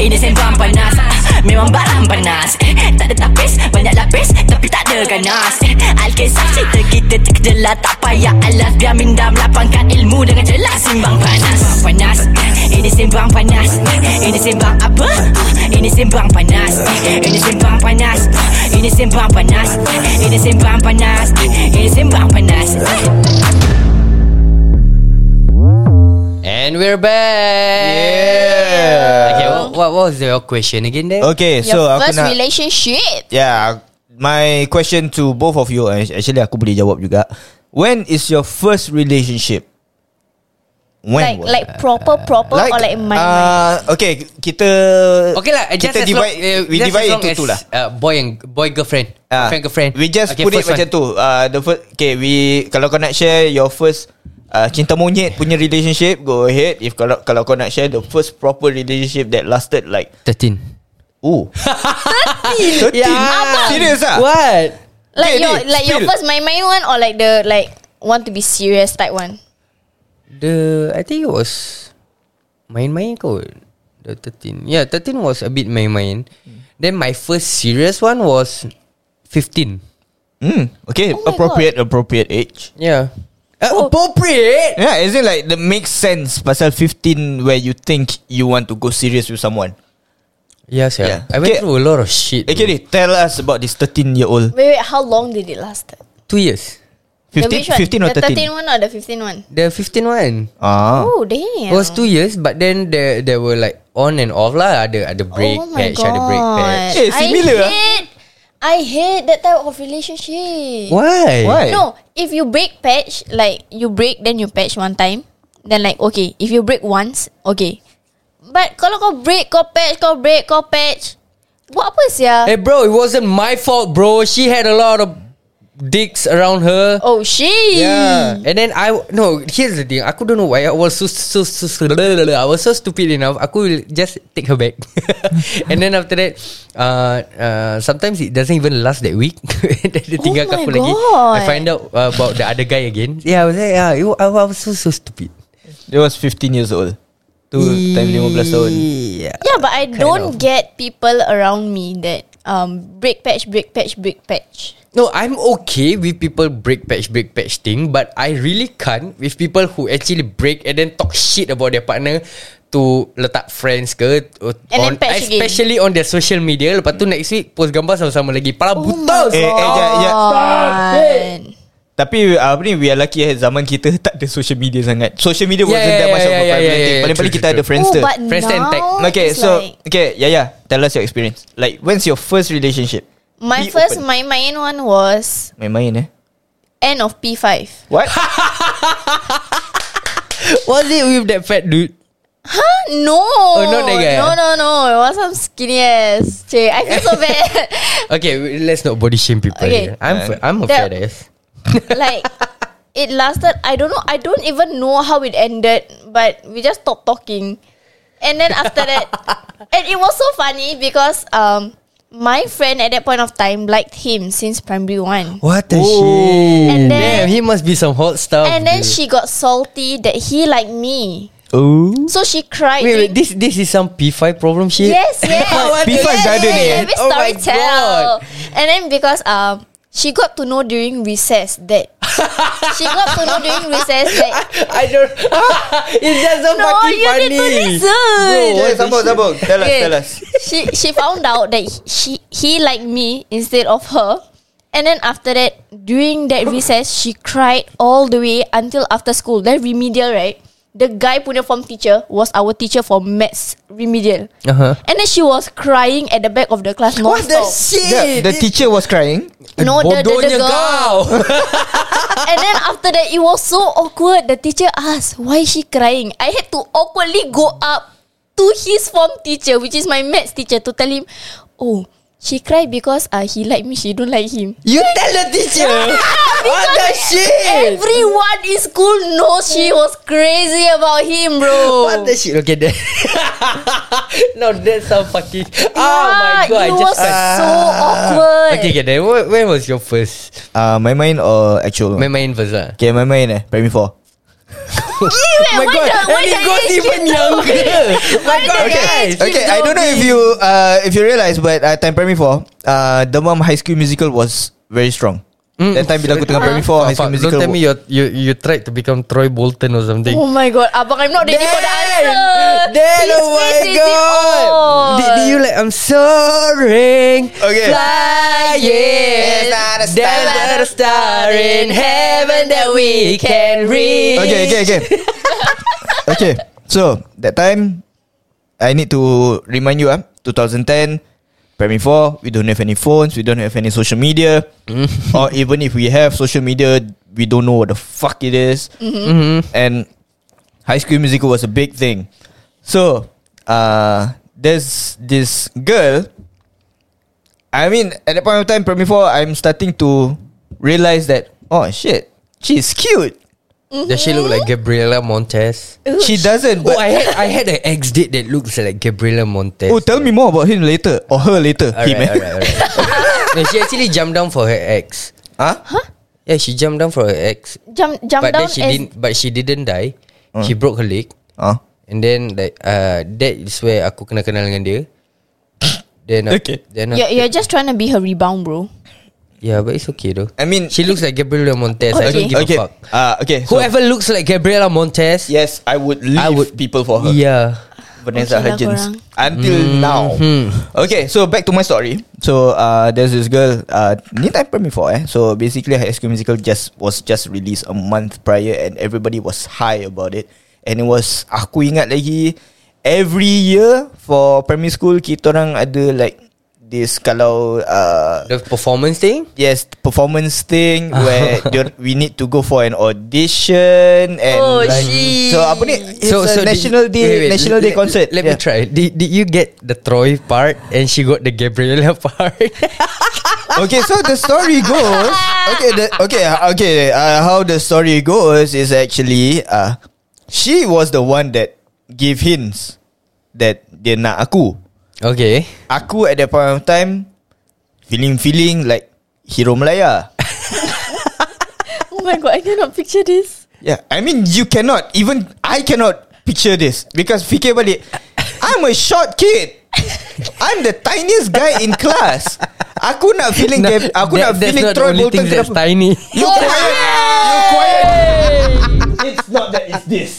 Ini sembang panas Ah, Memang barang panas Eh, Tak ada tapis Banyak lapis Tapi tak ada ganas Eh, Alkisah cerita kita terkejelah Tak payah alas Biar minda melapangkan ilmu Dengan jelas Simbang panas Panas Eh, Ini sembang panas Eh, Ini sembang apa? Ah, Ini sembang panas Eh, Ini sembang panas Ah, Ini sembang panas Eh, Ini sembang panas Eh, Ini sembang panas Ah.
And we're back. Okay, what, what was your question again there?
Okay so
Your
aku
first
nak
relationship.
Yeah My question to both of you eh, Actually aku boleh jawab juga When is your first relationship? When
Like
was
like
that?
proper proper or like my my.
uh, Okay Kita
Okay lah, just
Kita
as long,
divide
eh,
We
just
divide
as long
into
as,
two lah
Uh, boy and boy girlfriend,
Ah,
girlfriend girlfriend.
We just
Okay,
put it
first
macam
one.
tu uh, The first Okay we Kalau kau nak share Your first uh, Cinta monyet punya relationship Go ahead If kalau kalau kau nak share The first proper relationship That lasted like
Thirteen.
Ooh 13 Serius ah?
What?
Like
Okay,
your
ni,
like your
still.
first my my one or like the like want to be serious type one.
The I think it was main-main kot. The thirteen. Yeah, thirteen was a bit main-main. Then my first serious one was fifteen.
Hmm, okay,
Oh my
appropriate, appropriate age.
Yeah. Uh, appropriate.
Oh. Yeah, is it like that makes sense? Pasal 15 where you think you want to go serious with someone.
Yes, yeah.
Yeah.
I went
Okay.
through a lot of shit.
Okay,
bro.
ni, tell us about this 13 year old.
Wait wait, how long did it last?
two years.
The
15,
which one?
15 or
the 13
13?
one or the 15 one?
The fifteen one.
Ah,
Oh damn.
It was two years But then there, there were like On and off lah Ada ada break
oh my
patch
god.
Ada break patch
Eh, similar
I
ah.
hate, I hate that type of relationship.
Why?
Why?
No, if you break patch, like you break then you patch one time, then like okay, if you break once, okay. But kalau kau break, kau patch, kau break, kau patch, buat apa sia?
Eh,
Hey Eh, bro It wasn't my fault bro She had a lot of Dicks around her
Oh shit.
ya.
Yeah And then I No here's the thing Aku don't know why I was so, so, so, so I was so stupid enough Aku will just Take her back And then after that uh, uh, Sometimes it doesn't even last that week Dia dia tinggalkan
Oh my
aku lagi
God.
I find out uh, About the other guy again Yeah I was like yeah, I was so so stupid
It was 15 years old. Tu time 15 tahun.
Yeah
Yeah, but I
of.
don't get people around me that um break patch, break patch, break patch.
No, I'm okay with people break patch break patch thing, but I really can't with people who actually break and then talk shit about their partner to letak friends ke or-
And then
on,
patch again.
especially on their social media. Lepas tu next week post gambar sama-sama lagi. Pala
Oh
buta.
my
Eh, eh, ja, ja.
god.
Tapi uh, apa ni we are lucky eh zaman kita tak ada social media sangat. Social media
Yeah,
wasn't
yeah,
that much
yeah,
of a
yeah, yeah,
prevalent
yeah,
thing.
yeah,
Paling-paling
ya,
kita
true,
ada
true, true.
Oh,
Friendster.
but
Friendster and
now
tech.
okay,
it's
so
like-
okay, yeah yeah. Tell us your experience. Like when's your first relationship? Be
My first
open.
my main one was
main-main eh.
end of P five.
What? Oh,
Was it with that fat dude?
No.
Oh, not that guy.
No, no, no. It was some skinny ass. Che, I feel so bad.
Okay, we- let's not body shame people.
Okay.
here. I'm fa- I'm a
That-
fat ass.
like it lasted. I don't know. I don't even know how it ended, but we just stopped talking. And then after that, and it was so funny because um my friend at that point of time liked him since primary one.
What the shit?
And
Oh. Damn,
then-
he must be some hot stuff.
And then
dude.
she got salty that he liked me.
Oh.
So she cried.
Wait, Oh, wait,
during-
this this is some P5 problem shit.
Yes, yes.
What the
P5
shit?
garden ni, eh?
Maybe
Oh my
story
God.
tell. And then because um she got to know during recess that she got to know during recess that
I don't. it's just so
No,
fucking
you
funny.
need to listen.
Bro,
Yeah, sambung, sambung. Tell us,
Okay.
tell us.
She she found out that she he liked me instead of her. And then after that, during that recess, she cried all the way until after school. Then remedial, right? The guy punya form teacher was our teacher for maths remedial.
Uh-huh.
And then she was crying at the back of the class
What the
non-stop.
shit?
The, the teacher was crying.
No, Oh, the, the,
Bodohnya
the girl.
kau.
And then after that, it was so awkward. The teacher asked, why is she crying? I had to awkwardly go up to his form teacher, which is my maths teacher, to tell him, oh, She cried because uh, he like me, she don't like him.
You tell the teacher What the shit
Everyone in school knows she was crazy about him, bro.
What the shit Okay then No that's so fucking Oh my
Yeah,
god I
Ah, it
just uh,
was so awkward.
Okay okay then wh- When was your first
Ah, uh, my mind or actual?
Main main ah? first lah
okay, my mind eh. Primary 4.
Wait,
Oh my
why
god,
the, why
and it
the
goes
age
even
gap?
younger. Oh my god,
the
guys.
age gap?
Okay, I don't know if you uh, if you realize, but uh, time primary four, uh, Demam High School Musical was very strong.
Mm.
That time bila aku tengah primary four, High School
Fuck,
Musical.
don't tell me you you you tried to become Troy Bolton or something.
Oh my god, abang, I'm not ready for the
Damn!
answer.
Damn,
His
oh my
face says it
god.
all.
Did, did you like I'm soaring?
Okay.
Flying.
There's
not a star.
There's not a star in heaven that we can reach.
Okay, okay, okay. okay. So that time, I need to remind you, ah, 2010, primary four. We don't have any phones. We don't have any social media, or even if we have social media, we don't know what the fuck it is. And High School Musical was a big thing. So, uh, there's this girl. I mean, at that point of time, primary four, I'm starting to realize that oh shit, she's cute.
Does she look like Gabriela Montez?
She doesn't.
Oh,
But
I had I had an ex date that looks like Gabriela Montez.
oh, tell me more about him later or her later.
Alright,
him, eh?
alright, alright. no, she actually jumped down for her ex.
Huh?
Yeah, she jumped down for her ex,
jump, jump
but
down
then she
as
didn't. But she didn't die.
Uh.
She broke her leg,
Huh?
and then like uh, that is where aku kena kenal dengan dia. Then af-
Okay.
Then
You're,
yeah,
you're just trying to be her rebound, bro.
yeah, but it's okay though.
I mean-
she looks like Gabriela Montez. I don't
Okay.
give
okay.
a fuck.
Uh, okay. so-
Whoever looks like Gabriela Montez,
yes, I would leave
I would-
people for her.
Yeah.
Vanessa
Okay lah
Hudgens
korang.
until now. Okay, so back to my story. Mm-hmm. So uh, there's this girl. Uh, ni time primary four eh. So basically, High School Musical just was just released a month prior, and everybody was high about it. And it was aku ingat lagi every year for primary school kita orang ada like this kalau uh,
The performance thing.
Yes, performance thing
Ah.
where dior- we need to go for an audition and
Oh,
like,
shit.
so apa ni? It's a
did-
national day,
wait, wait,
national day
let-
concert.
Let, me try. Did, did you get the Troy part and she got the Gabriela part?
okay, so the story goes. Okay, the, okay, okay. Uh, how the story goes is actually, uh, she was the one that gave hints that dia nak aku.
okay.
Aku at that point of time feeling feeling like hero Melaya.
Oh my god, I cannot picture this.
Yeah, I mean you cannot even I cannot picture this because fikir balik, I'm a short kid. I'm the tiniest guy in class. Aku nak feeling
No,
gap, aku
that-
nak
that's
feeling
not the
Troy
only
Bolton
thing that's
kenapa?
tiny.
You quiet. You quiet. it's not that. It's this.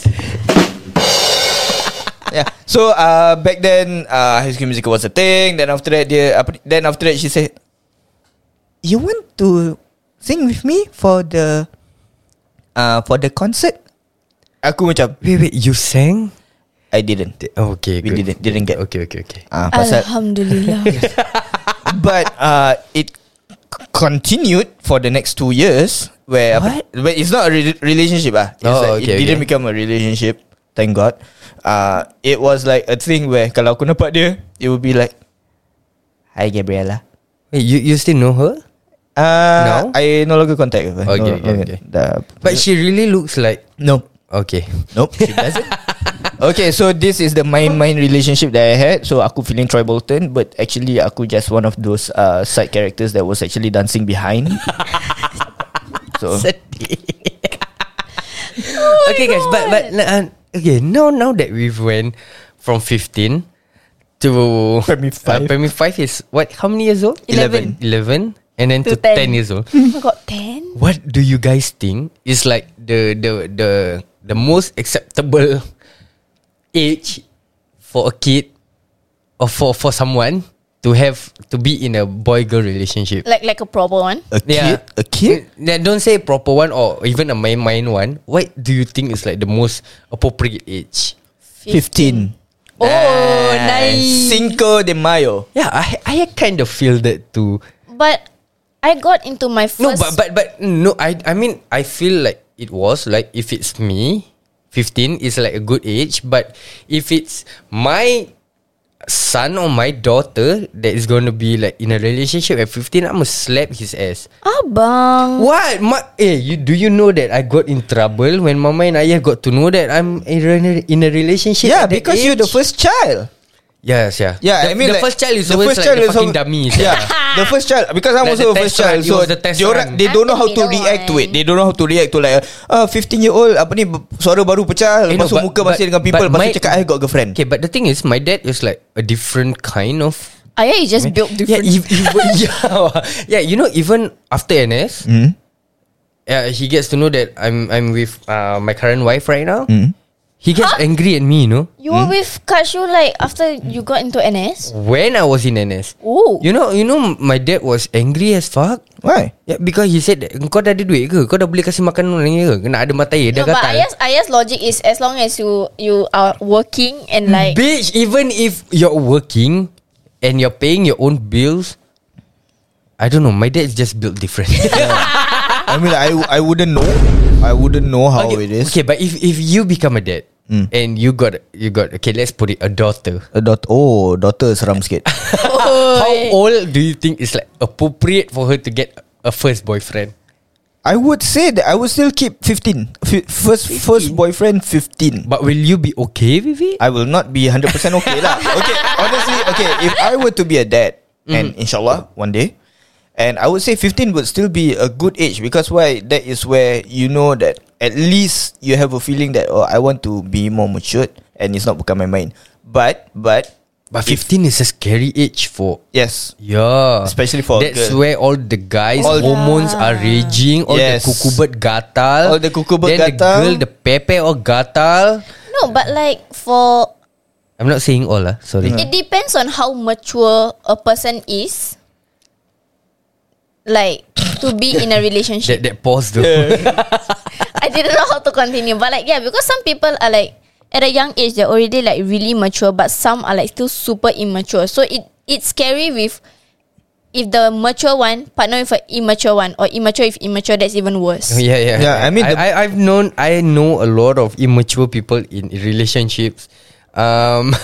Yeah. So uh, back then, uh, High School Musical was a thing. Then after that, dia, apa, ni- then after that, she said, "You want to sing with me for the, uh, for the concert?" Aku macam,
Wait, wait. You sang?
I didn't.
Oh, okay,
We
good.
didn't didn't get.
Okay, okay, okay.
Ah, pasal
Alhamdulillah.
but uh, it c- continued for the next two years. Where
What?
but it's not a re- relationship. Ah, It's
Oh,
like it
okay,
didn't
okay.
become a relationship. Thank God. Uh, it was like a thing where kalau aku nampak dia, it would be like, Hi Gabriella.
Wait, you you still know her?
Uh,
No?
I no longer contact with her.
Okay,
no,
okay,
longer-
okay.
the-
But she really looks like.
no,
Okay.
nope, she doesn't. okay, so this is the mind mind relationship that I had. So aku feeling Troy Bolton, but actually aku just one of those uh, side characters that was actually dancing behind. so
okay, guys. But but uh, okay. Now now that we've went from fifteen to
Primary five.
Uh, primary five is what? How many years old?
Eleven.
Eleven. And then to,
To
10.
10.
years old.
oh my god, 10?
What do you guys think is like the the the the most acceptable age for a kid or for for someone to have to be in a boy girl relationship?
Like like a proper one.
a kid,
Yeah.
a kid.
Then don't say proper one or even a main main one. What do you think is like the most appropriate age?
15.
Oh, nice.
Cinco de Mayo.
Yeah, I I kind of feel that too.
But I got into my first.
No, but but but no, I I mean I feel like it was like if it's me, fifteen is like a good age, but if it's my son or my daughter that is going to be like in a relationship at 15, I'm going to slap his ass.
Abang.
What? Ma- eh, you, do you know that I got in trouble when mama and ayah got to know that I'm in a, in a relationship?
Yeah,
at that
because
age?
you're the first child.
Yes, yeah.
Yeah,
the,
I mean
the
like,
first child is always like the
is
fucking
al-
dummy.
Yeah,
Yeah.
the first child because I'm
Like
also a
the
first
test run,
child,
it
so
was the test
they
run.
orang they don't know how to
I'm the middle
react to
one.
it. They don't know how to react to like ah 15 year old apa ni b- suara baru pecah
Eh,
lepas tu muka masih dengan people lepas tu cakap I got girlfriend.
Okay, but the thing is, my dad is like a different kind of
Ayah is Ah, just built
Yeah,
different.
ev- even, yeah, yeah. You know, even after NS,
Hmm.
uh, he gets to know that I'm I'm with uh, my current wife right now.
Mm. hmm.
He gets angry at me, you know,
you were with Kashu like after you got into NS?
when I was in NS.
Oh.
You know, you know, my dad was angry as fuck.
Why?
Yeah, Ya, because he said that, Kau dah ada duit ke? Kau dah boleh kasih makan orang ni ke? Kena ada mata air
No,
Dah
but
gatal
Ayah's, Ayah's logic is as long as you you are working and like
Bitch, even if you're working and you're paying your own bills, I don't know. My dad is just built different.
I mean like, I I wouldn't know. I wouldn't know how it is. Hmm.
okay, but if if you become a dad and you got you got okay, let's put it a daughter.
A dot oh daughter seram sikit.
Oh,
How old do you think is like appropriate for her to get a first boyfriend?
I would say that I would still keep 15. F- first first boyfriend 15.
But will you be okay with it?
I will not be 100% okay lah. Okay, honestly, okay, if I were to be a dad,
Mm.
and inshallah, one day, and I would say 15 would still be a good age because why? That is where you know that at least you have a feeling that, oh, I want to be more matured and it's not become my mind. But, but,
But 15 is a scary age for
yes.
Yeah
Especially for a
That's
girl.
where all the guys
All-
Hormones are raging All
Yes.
the kukubet gatal
All the kukubet
Then
gatal.
the girl The pepe all gatal
no, but like for
I'm not saying all lah Sorry
it depends on how mature a person is. Like to be in a
That,
relationship.
that pause though yeah.
I didn't know how to continue. But like, yeah, because some people are like at a young age they're already like really mature, but some are like still super immature. So it it's scary with if the mature one partner with an immature one, or immature if immature, that's even worse.
Oh, yeah, yeah,
Yeah, I mean
I,
the-
I, I've known I know a lot of immature people in relationships. Um,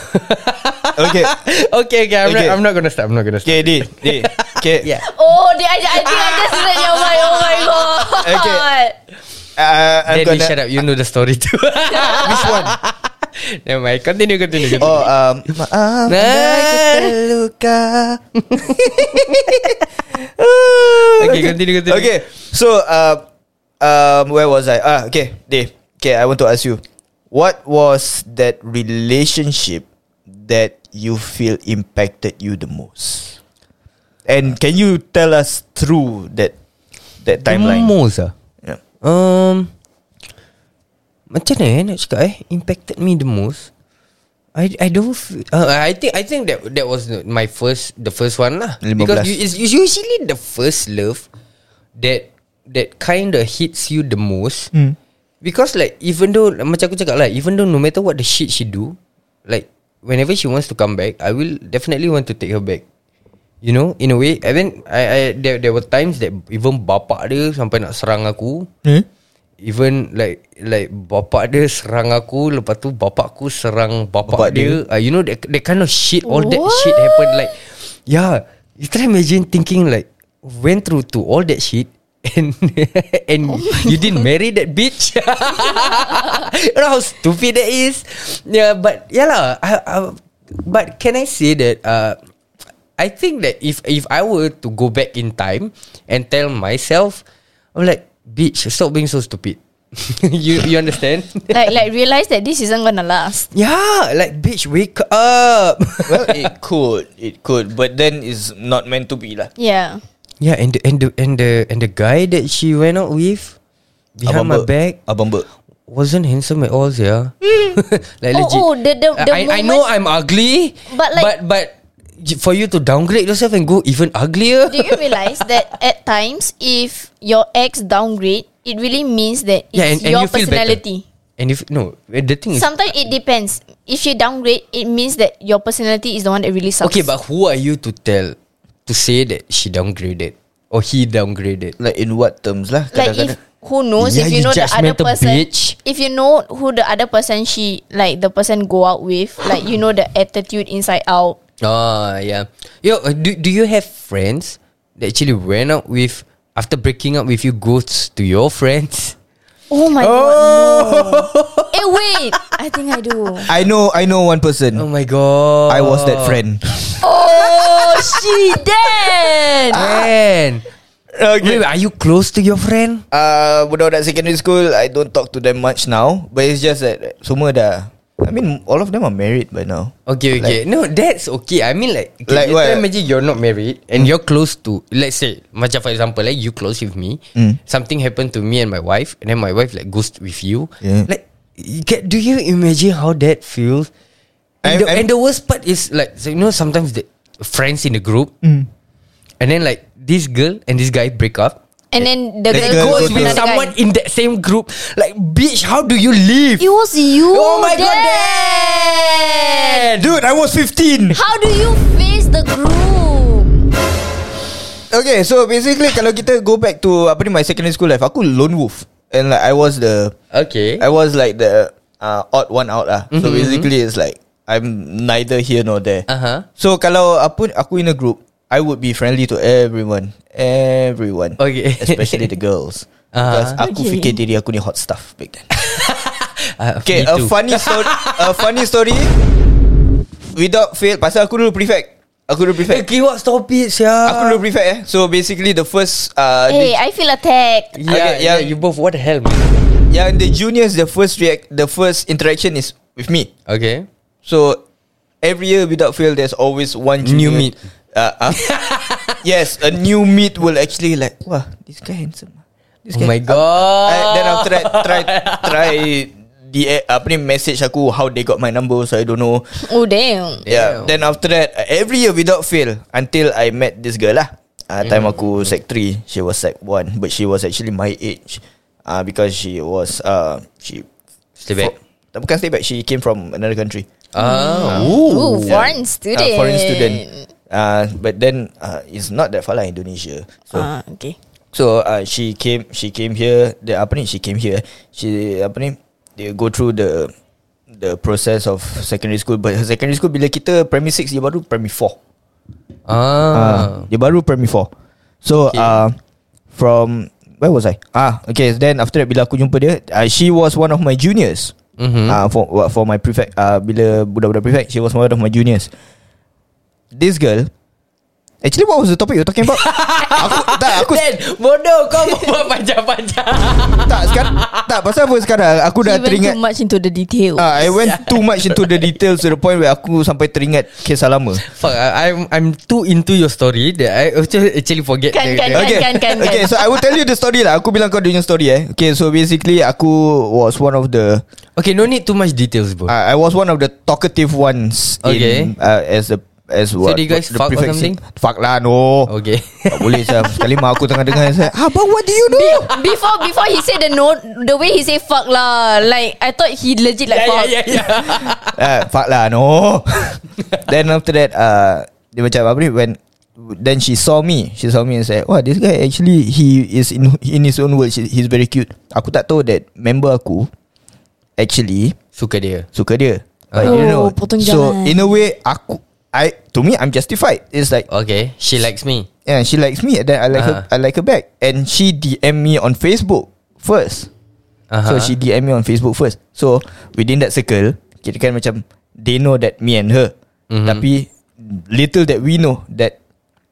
Okay.
okay, okay, I'm,
Okay.
Not, I'm not gonna stop. I'm not gonna stop.
Okay, D, D. Okay.
Yeah.
Oh, the, I, I think I just read your mind. Oh my god.
Okay. Uh, I'm
Daddy,
gonna,
shut up. You know the story too.
Which one?
Never mind. Continue, continue. continue.
Oh, um, maaf
Nah.
andai ku terluka.
Okay, continue, continue.
Okay, so uh, um, where was I? Ah, okay, Dave. Okay, I want to ask you, what was that relationship that you feel impacted you the most? And can you tell us through that that timeline?
Most ah.
Yeah.
Um, macam mana eh nak cakap eh impacted me the most. I I don't feel, uh, I think I think that that was the- my first the first one lah
15.
because you, it's it's usually the first love that that kind of hits you the most because like even though macam aku cakap lah even though no matter what the shit she do like whenever she wants to come back I will definitely want to take her back You know In a way I mean I, I there, there were times that Even bapak dia Sampai nak serang aku
Hmm?
Even like Like bapak dia serang aku Lepas tu bapak aku serang
Bapak
bapak, dia, Uh, You know that, that kind of shit All that shit happened Like Yeah You try imagine thinking like Went through to all that shit And and you didn't marry that bitch You know how stupid that is Yeah but Yeah lah I, I, But can I say that uh, I think that if if I were to go back in time and tell myself, I'm like, bitch, stop being so stupid. you you understand?
Like, like realize that this isn't gonna last.
yeah, like bitch, wake up.
well, it could, it could, but then it's not meant to be lah.
Yeah.
yeah, and the, and the and the and the guy that she went out with behind my
Abang Ber-
back
Abang Ber.
wasn't handsome at all, yeah. like legit.
Oh, oh, the- the- the
I, I know
moment-
I'm ugly,
But
but
like-
but for you to downgrade yourself and go even uglier.
Do you realize that at times, if your ex downgrade, it really means that it's your
feel better. Hmm.
personality.
And if no, the thing is,
Sometimes it depends. If she downgrade, it means that your personality is the one that really sucks.
Okay, but who are you to tell to say that she downgraded or he downgraded?
Like in what terms lah?
like if
kadang-kadang?
who knows
Yeah,
if you
you
know the other
judgmental
person
bitch.
if you know who the other person she like the person go out with like you know the attitude inside out
Oh yeah. Yo, uh, do do you have friends that actually went out with after breaking up with you goes to your friends?
oh my
Oh.
god no. eh wait I think I do
I know I know one person.
Oh my god.
I was that friend.
oh she dead
Ah.
Man.
Okay.
Wait, are you close to your friend?
Uh, budak-budak secondary school, I don't talk to them much now. But it's just that semua dah. I mean, all of them are married by now.
Okay, okay. no, that's okay. I mean like, okay,
Like
you
what?
try
Mm.
imagine you're not married and you're close to let's say, macam for example, like you close with me,
Mm.
something happened to me and my wife, and then my wife like goes with you.
Yeah.
Like you get, do you imagine how that feels?
I'm-
And the,
I'm-
and the worst part is like so you know sometimes the friends in the group
Mm.
and then like this girl and this guy break up.
and then the
That girl
girl goes
go
Goes
with
to-
with
another
someone
guy
in that same group. Like, bitch, how do you live?
it was you
Oh my god,
dead.
Dude, I was 15.
How do you face the groom?
Okay, so basically kalau kita go back to apa ni my secondary school life, aku lone wolf. And like I was the
Okay.
I was like the uh, odd one out lah.
Mm-hmm,
So basically it's like I'm neither here nor there.
Uh-huh.
So kalau aku aku in a group, I would be friendly to everyone. Everyone.
Okay.
Especially the girls. Because
Uh-huh.
aku fikir diri aku ni hot stuff back then.
Uh,
Okay,
me
a
too.
funny story. a funny story. Without fail, pasal aku dulu prefect. Aku dulu
Eh,
prefect.
okay, what stop it, sia.
Aku dulu prefect eh. So basically the first uh,
Hey, I feel attacked.
Yeah,
Okay, yeah.
yeah, you both what the hell, man?
the, yang the juniors the first react the first interaction is with me.
Okay.
So every year without fail, there's always one junior.
New meat.
Uh, uh, yes, a new meat will actually like, wow, this guy handsome. ah. This
Oh
guy.
my
I-
god.
Uh, then after that, try try the eh, apa ni message aku how they got my number, so I don't know.
Oh damn.
Yeah.
Damn.
Then after that, uh, every year without fail until I met this girl lah. Uh,
Mm.
time aku sec 3 She was sec 1 But she was actually my age uh, Because she was uh, She
Stay back.
Fo- Bukan stay back She came from another country Hmm.
Ah,
Ooh, foreign student.
uh, foreign student. Uh, but then uh, it's not that far lah Indonesia. So
Ah, okay.
so uh, she came she came here. The apa ni she came here. She apa ni they go through the the process of secondary school. But her secondary school bila kita primary 6 dia baru primary 4.
ah.
Uh, dia baru primary 4 So okay. uh, From Where was I? Ah, okay. Then after that bila aku jumpa dia, uh, she was one of my juniors. Mm-hmm. Uh, for wa- for my prefect, uh, bila budak-budak prefect, she was one of my juniors. This girl, actually, what was the topic you were talking about? aku tak, aku
Then, bodoh kau buat panjang-panjang.
tak sekarang tak pasal apa sekarang. Aku dah
She went
teringat.
too much into the detail.
Ah, I went too much into the details to the point where aku sampai teringat kisah lama.
Fuck, I, I'm I'm too into your story that I actually, actually forget. the-
Kan, kan,
the-
kan.
okay. Okay, so I will tell you the story lah. Aku bilang kau dia punya story eh. Okay, so basically aku was one of the
Okay, no need too much details, bro.
uh, I was one of the talkative ones
Okay.
in uh, as the as what
do you guys
the
fuck or
prefect
something?
said. Fuck lah no.
Okay.
Tak boleh Sam Sekali mak aku tengah dengar saya, Abang what do you do?
Before before he said the no, the way he say fuck lah, like I thought he legit like fuck.
yeah.
uh, fuck lah no Then after that uh, Dia macam apa ni When Then she saw me She saw me and said Wah this guy actually He is in in his own world He's very cute Aku tak tahu that Member aku Actually
Suka dia.
Suka dia But
Oh,
you know
potong
So
jalan.
in a way Aku I To me I'm justified It's like
Okay, she likes me.
Yeah she likes me And then I like her
Ah.
I like her back And she DM me on Facebook First
Uh-huh.
So she DM me on Facebook first So within that circle Kita kan macam They know that me and her
Mhm.
Tapi Little that we know That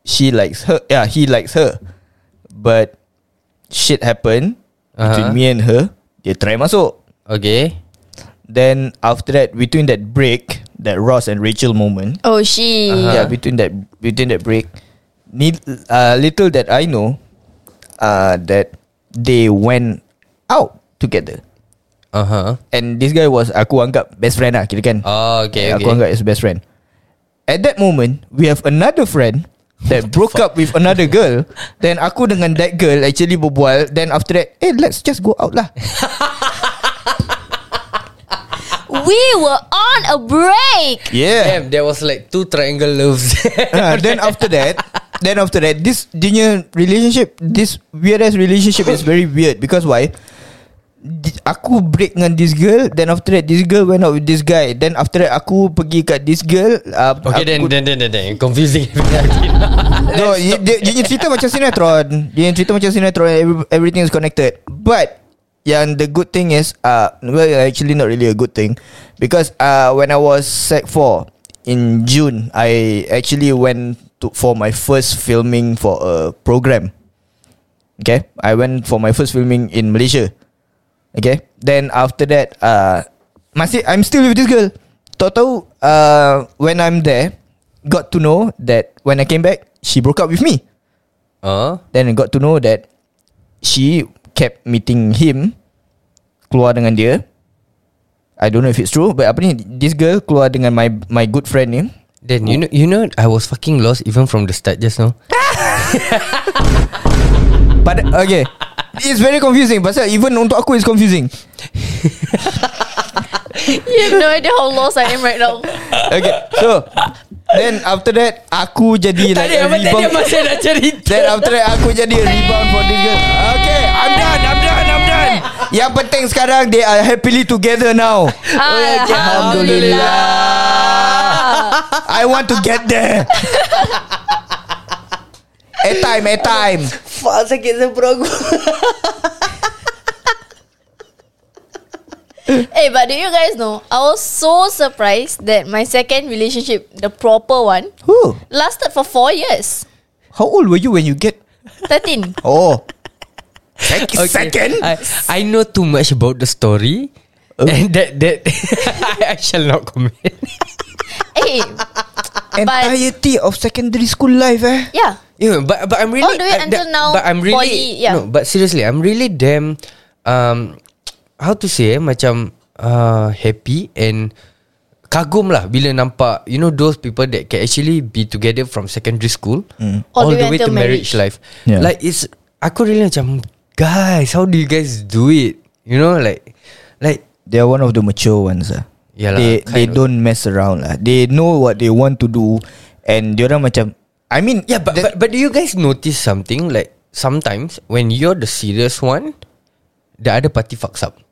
She likes her Yeah he likes her But Shit happen Between
Aha.
me and her Dia try masuk
Okay.
Then after that Between that break That Ross and Rachel moment
Oh she.
Uh-huh.
Yeah between that Between that break need, uh, Little that I know uh, That They went Out Together
Uh huh.
And this guy was Aku anggap best friend lah Kira kan
Oh, okay,
Aku
okay.
anggap as best friend At that moment We have another friend That broke up with another girl Then aku dengan that girl Actually berbual Then after that Eh let's just go out lah
we were on a break.
Yeah.
Damn, there was like two triangle loves.
Ah, then after that, then after that, this dia relationship, this weird ass relationship is very weird because why? Di- Aku break dengan this girl Then after that This girl went out with this guy Then after that Aku pergi kat this girl uh,
okay, then,
aku,
then, then, then, then, confusing.
No dia, dia, dia punya cerita macam sinetron Dia punya cerita macam sinetron every, Everything is connected But Yang the good thing is uh, Well actually not really a good thing Because uh, When I was sec 4 In June I actually went to For my first filming For a program Okay I went for my first filming In Malaysia Okay Then after that uh, Masih I'm still with this girl Tahu-tahu uh, When I'm there Got to know That When I came back She broke up with me
huh?
Then I got to know that She kept meeting him Keluar dengan dia I don't know if it's true But apa ni This girl keluar dengan my my good friend ni
Then you know, you know, I was fucking lost even from the start just now.
But okay It's very confusing Pasal even untuk aku It's confusing
You have no idea how lost I am right now.
Okay So Then after that Aku jadi like a rebound
nak cerita.
Then after that Aku jadi a rebound for this girl Okay I'm done I'm done I'm done Yang penting sekarang They are happily together now
Ah,
I want to get there. a time, a time.
Fuck, sakit sempurna aku.
Hey, but do you guys know? I was so surprised that my second relationship, the proper one,
Who?
lasted for four years.
How old were you when you get?
13.
Oh. Sec- Second.
I, I know too much about the story. And that that I, I shall not comment.
hey,
Entirety of secondary school life, eh?
yeah.
Yeah, but but I'm really
All the way
uh,
Oh, until now,
But I'm really
poly, yeah.
no. But seriously, I'm really damn um how to say eh, macam uh, happy and kagum lah bila nampak you know those people that can actually be together from secondary school all, the way, to marriage, life.
Yeah.
Like it's aku really macam guys, how do you guys do it? You know like like
They are one of the mature ones, ah.
Yalah,
they
kind
they
of.
don't mess around lah. They know what they want to do, and diorang macam. I mean,
Yeah, but, but but do you guys notice something like sometimes when you're the serious one, the other party fucks up,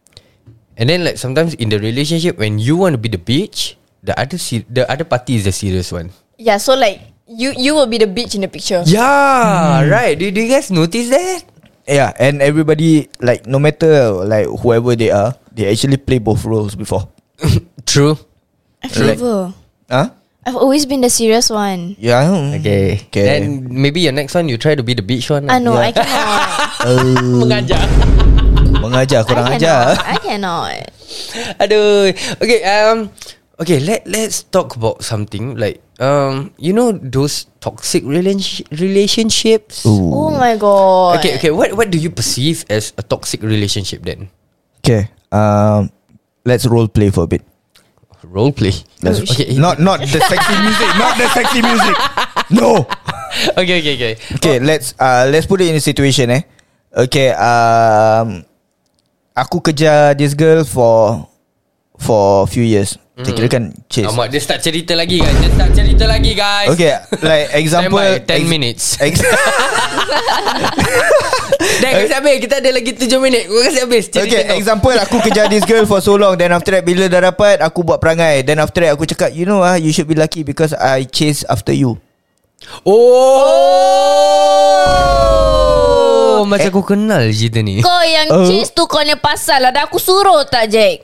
and then like sometimes in the relationship when you want to be the bitch, the other se- the other party is the serious one.
Yeah, so like, you you will be the bitch in the picture.
Yeah, right. Do, do you guys notice that?
yeah, and everybody like no matter like whoever they are, they actually play both roles before.
True.
I've
Like-
never.
Huh?
I've always been the serious one.
Ah? Yeah.
Okay.
Okay.
Then maybe your next one you try to be the bitch one. lah.
I know, Ah, I cannot.
Mengajar.
Mengajar kurang
I
ajar.
cannot. I cannot.
Aduh. Okay, um okay, let let's talk about something like um you know those toxic relationship relationships.
Oh my god.
Okay, okay. What what do you perceive as a toxic relationship then?
Okay. Um, let's role play for a bit.
Role play.
Let's
Oh,
okay,
Not not the sexy music. Not the sexy music. No.
okay, okay, okay.
Okay. Let's uh let's put it in a situation eh. Okay. Um, aku kerja this girl for for a few years. Mm.
Hmm.
Kira kan chase.
Alamak, dia start cerita lagi guys. Dia start cerita lagi guys.
Okay, like example
Standby, 10
ex-
minutes.
Ex-
Dah kasi habis. Kita ada lagi 7 minit. Kau kasi habis cerita
Eh. Okay
kau.
example Aku kejar this girl for so long Then after that Bila dah dapat Aku buat perangai Then after that aku cakap You know ah You should be lucky Because I chase after you
Oh. Macam
Eh.
aku kenal cerita ni.
Kau yang
Oh.
oh. cheese tu kau punya pasal Ada aku suruh tak Jack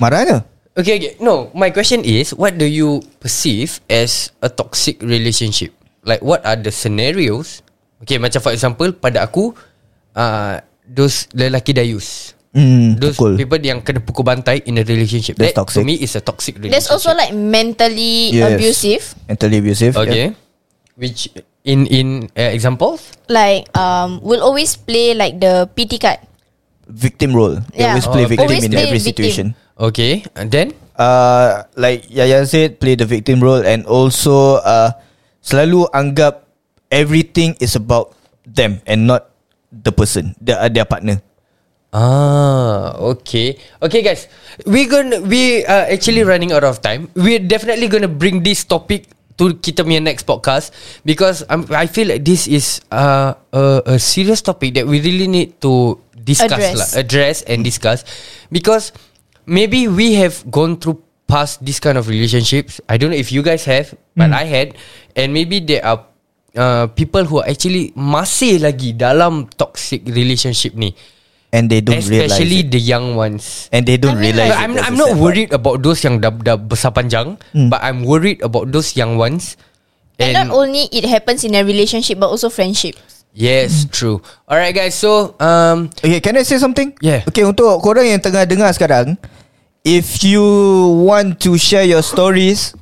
Marah ke?
Okay, okay. No, my question is, what do you perceive as a toxic relationship? Like, what are the scenarios? Okay, macam for example, pada aku, uh, those lelaki dayus.
Hmm
Those
Pukul
people yang kena pukul bantai in a relationship.
That's
That
toxic.
to me is a toxic relationship.
There's also like mentally
Yes.
abusive
Mentally abusive
okay, which in in uh, examples,
Like um, Will always play like the PT card
Victim role They
Yeah.
always play
Oh,
victim
always
In
play
every
victim.
situation
okay, and then
uh, Like Yaya said Play the victim role And also uh, Selalu anggap Everything is about Them And not The person Their, their uh, partner
Ah, okay. Okay guys, we gonna we are actually running out of time. We're definitely gonna bring this topic to kita punya next podcast because I'm, I feel like this is uh, a, a serious topic that we really need to discuss
Address.
lah, address and discuss because maybe we have gone through past this kind of relationships. I don't know if you guys have, but I had, and maybe there are uh, people who are actually masih lagi dalam toxic relationship ni.
And they don't realize
Especially
it.
the young ones.
And they don't
I mean,
realize
But
it.
I'm
That's
I'm
the
not
sad
worried about those yang dah, dah besar panjang,
Hmm.
but I'm worried about those young ones.
And, not only it happens in a relationship but also friendship.
Hmm.
yes, true. All right, guys. So um,
part. Okay can I say something
Yeah.
Okay untuk korang yang tengah dengar sekarang If you want to share your stories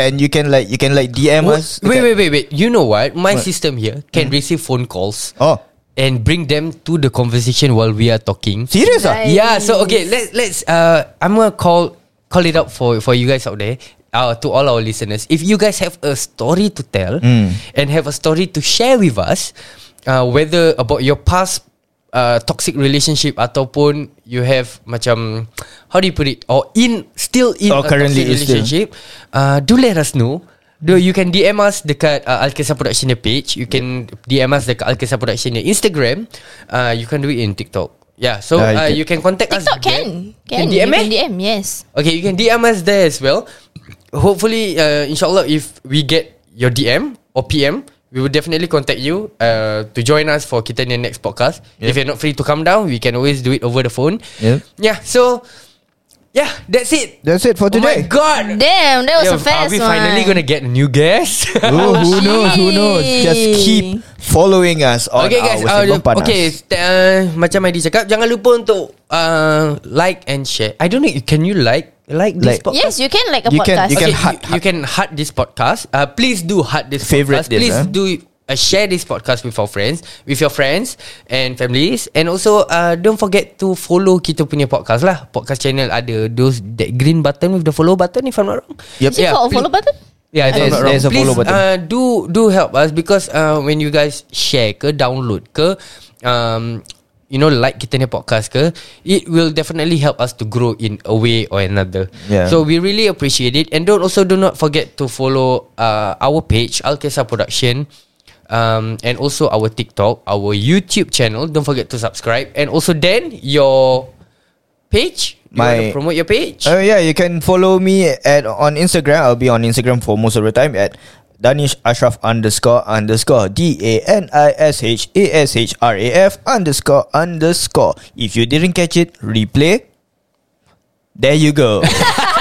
And you can like You can like DM
wait,
us
wait, wait, wait, wait. You know what? My
What? Hmm.
system here can receive phone calls
Oh
and bring them to the conversation while we are talking.
Serious ah?
Right.
Yeah, so okay, let's let's uh I'm gonna call call it up for for you guys out there. Uh, to all our listeners, if you guys have a story to tell
Hmm.
and have a story to share with us, uh, whether about your past uh, toxic relationship ataupun you have macam how do you put it or in still in
Or
a
currently
toxic
is still.
relationship, uh, do let us know. Do you can DM us dekat uh, Alkisah Production punya page. You can DM us dekat Alkisah Production punya Instagram. Uh, you can do it in TikTok. Yeah, so
Yeah, Ah, you can.
uh, you can contact us.
TikTok
there.
can. Can,
You
you
DM
can
eh?
DM, yes.
Okay, you can DM us there as well. Hopefully, uh, inshallah, if we get your DM or PM, we will definitely contact you uh, to join us for kita punya next podcast.
Yeah.
If you're not free to come down, we can always do it over the phone.
Yeah.
Yeah. So, yeah, that's it.
That's it for
Oh
today
my god.
Damn, that was a fast
Are we
one.
finally gonna get a new guest?
Who, who knows? Who knows? Just keep following us on
okay guys,
our
uh,
Sembang Panas.
okay, st- uh, macam Heidi cakap, jangan lupa untuk uh, like and share. I don't know, can you like like this
Like-
podcast?
Yes, you can like a
You can-
podcast.
you
okay,
can heart-
you, you can heart this podcast. Uh, please do heart this
Favorite
podcast.
this,
please
eh?
do uh, share this podcast with our friends, with your friends and families, and also uh, don't forget to follow kita punya podcast lah. Podcast channel ada those that green button with the follow button if I'm not wrong.
Yep.
Is it called a follow
please-
button?
Yeah,
If I'm
there's,
not wrong.
there's a
Please,
follow button.
uh,
Uh, do do help us because uh, when you guys share ke download ke um, you know like kita ni podcast ke it will definitely help us to grow in a way or another.
Yeah.
So we really appreciate it and don't also do not forget to follow uh, our page Alkesa Production um, and also our TikTok, our YouTube channel. Don't forget to subscribe and also then your page. You
My-
wanna promote your page.
Oh yeah, you can follow me at on Instagram. I'll be on Instagram for most of the time at Danish Ashraf underscore underscore D A N I S H A S H R A F underscore underscore. If you didn't catch it, replay. There you go.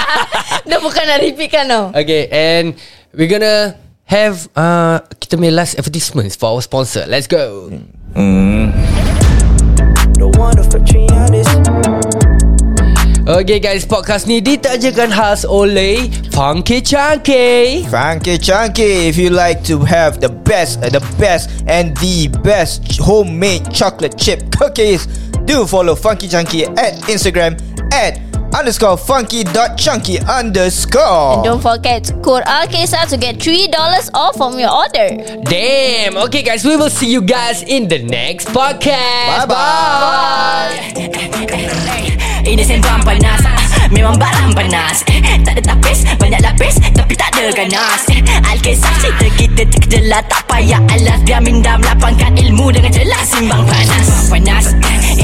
Dah bukan nak repeat kan tau.
Okay, and we're gonna have uh kita punya last advertisements for our sponsor. Let's go.
The wonderful Trianis.
Okay guys, podcast ni ditajakan khas oleh Funky Chunky.
Funky Chunky, if you like to have the best, uh, the best, and the best ch- homemade chocolate chip cookies, do follow Funky Chunky at Instagram at underscore funky dot chunky underscore.
And don't forget to code Alkesa to get $3 off from your order.
Damn. Okay guys, we will see you guys in the next podcast.
Bye-bye.
Eh, Ini sembang panas Ah, Memang barang panas Eh, Tak ada tapis Banyak lapis Tapi tak ada ganas Eh, Alkisah cerita kita terkejelah Tak payah alas Biar minda melapangkan ilmu Dengan jelas Simbang panas Sembang panas Eh,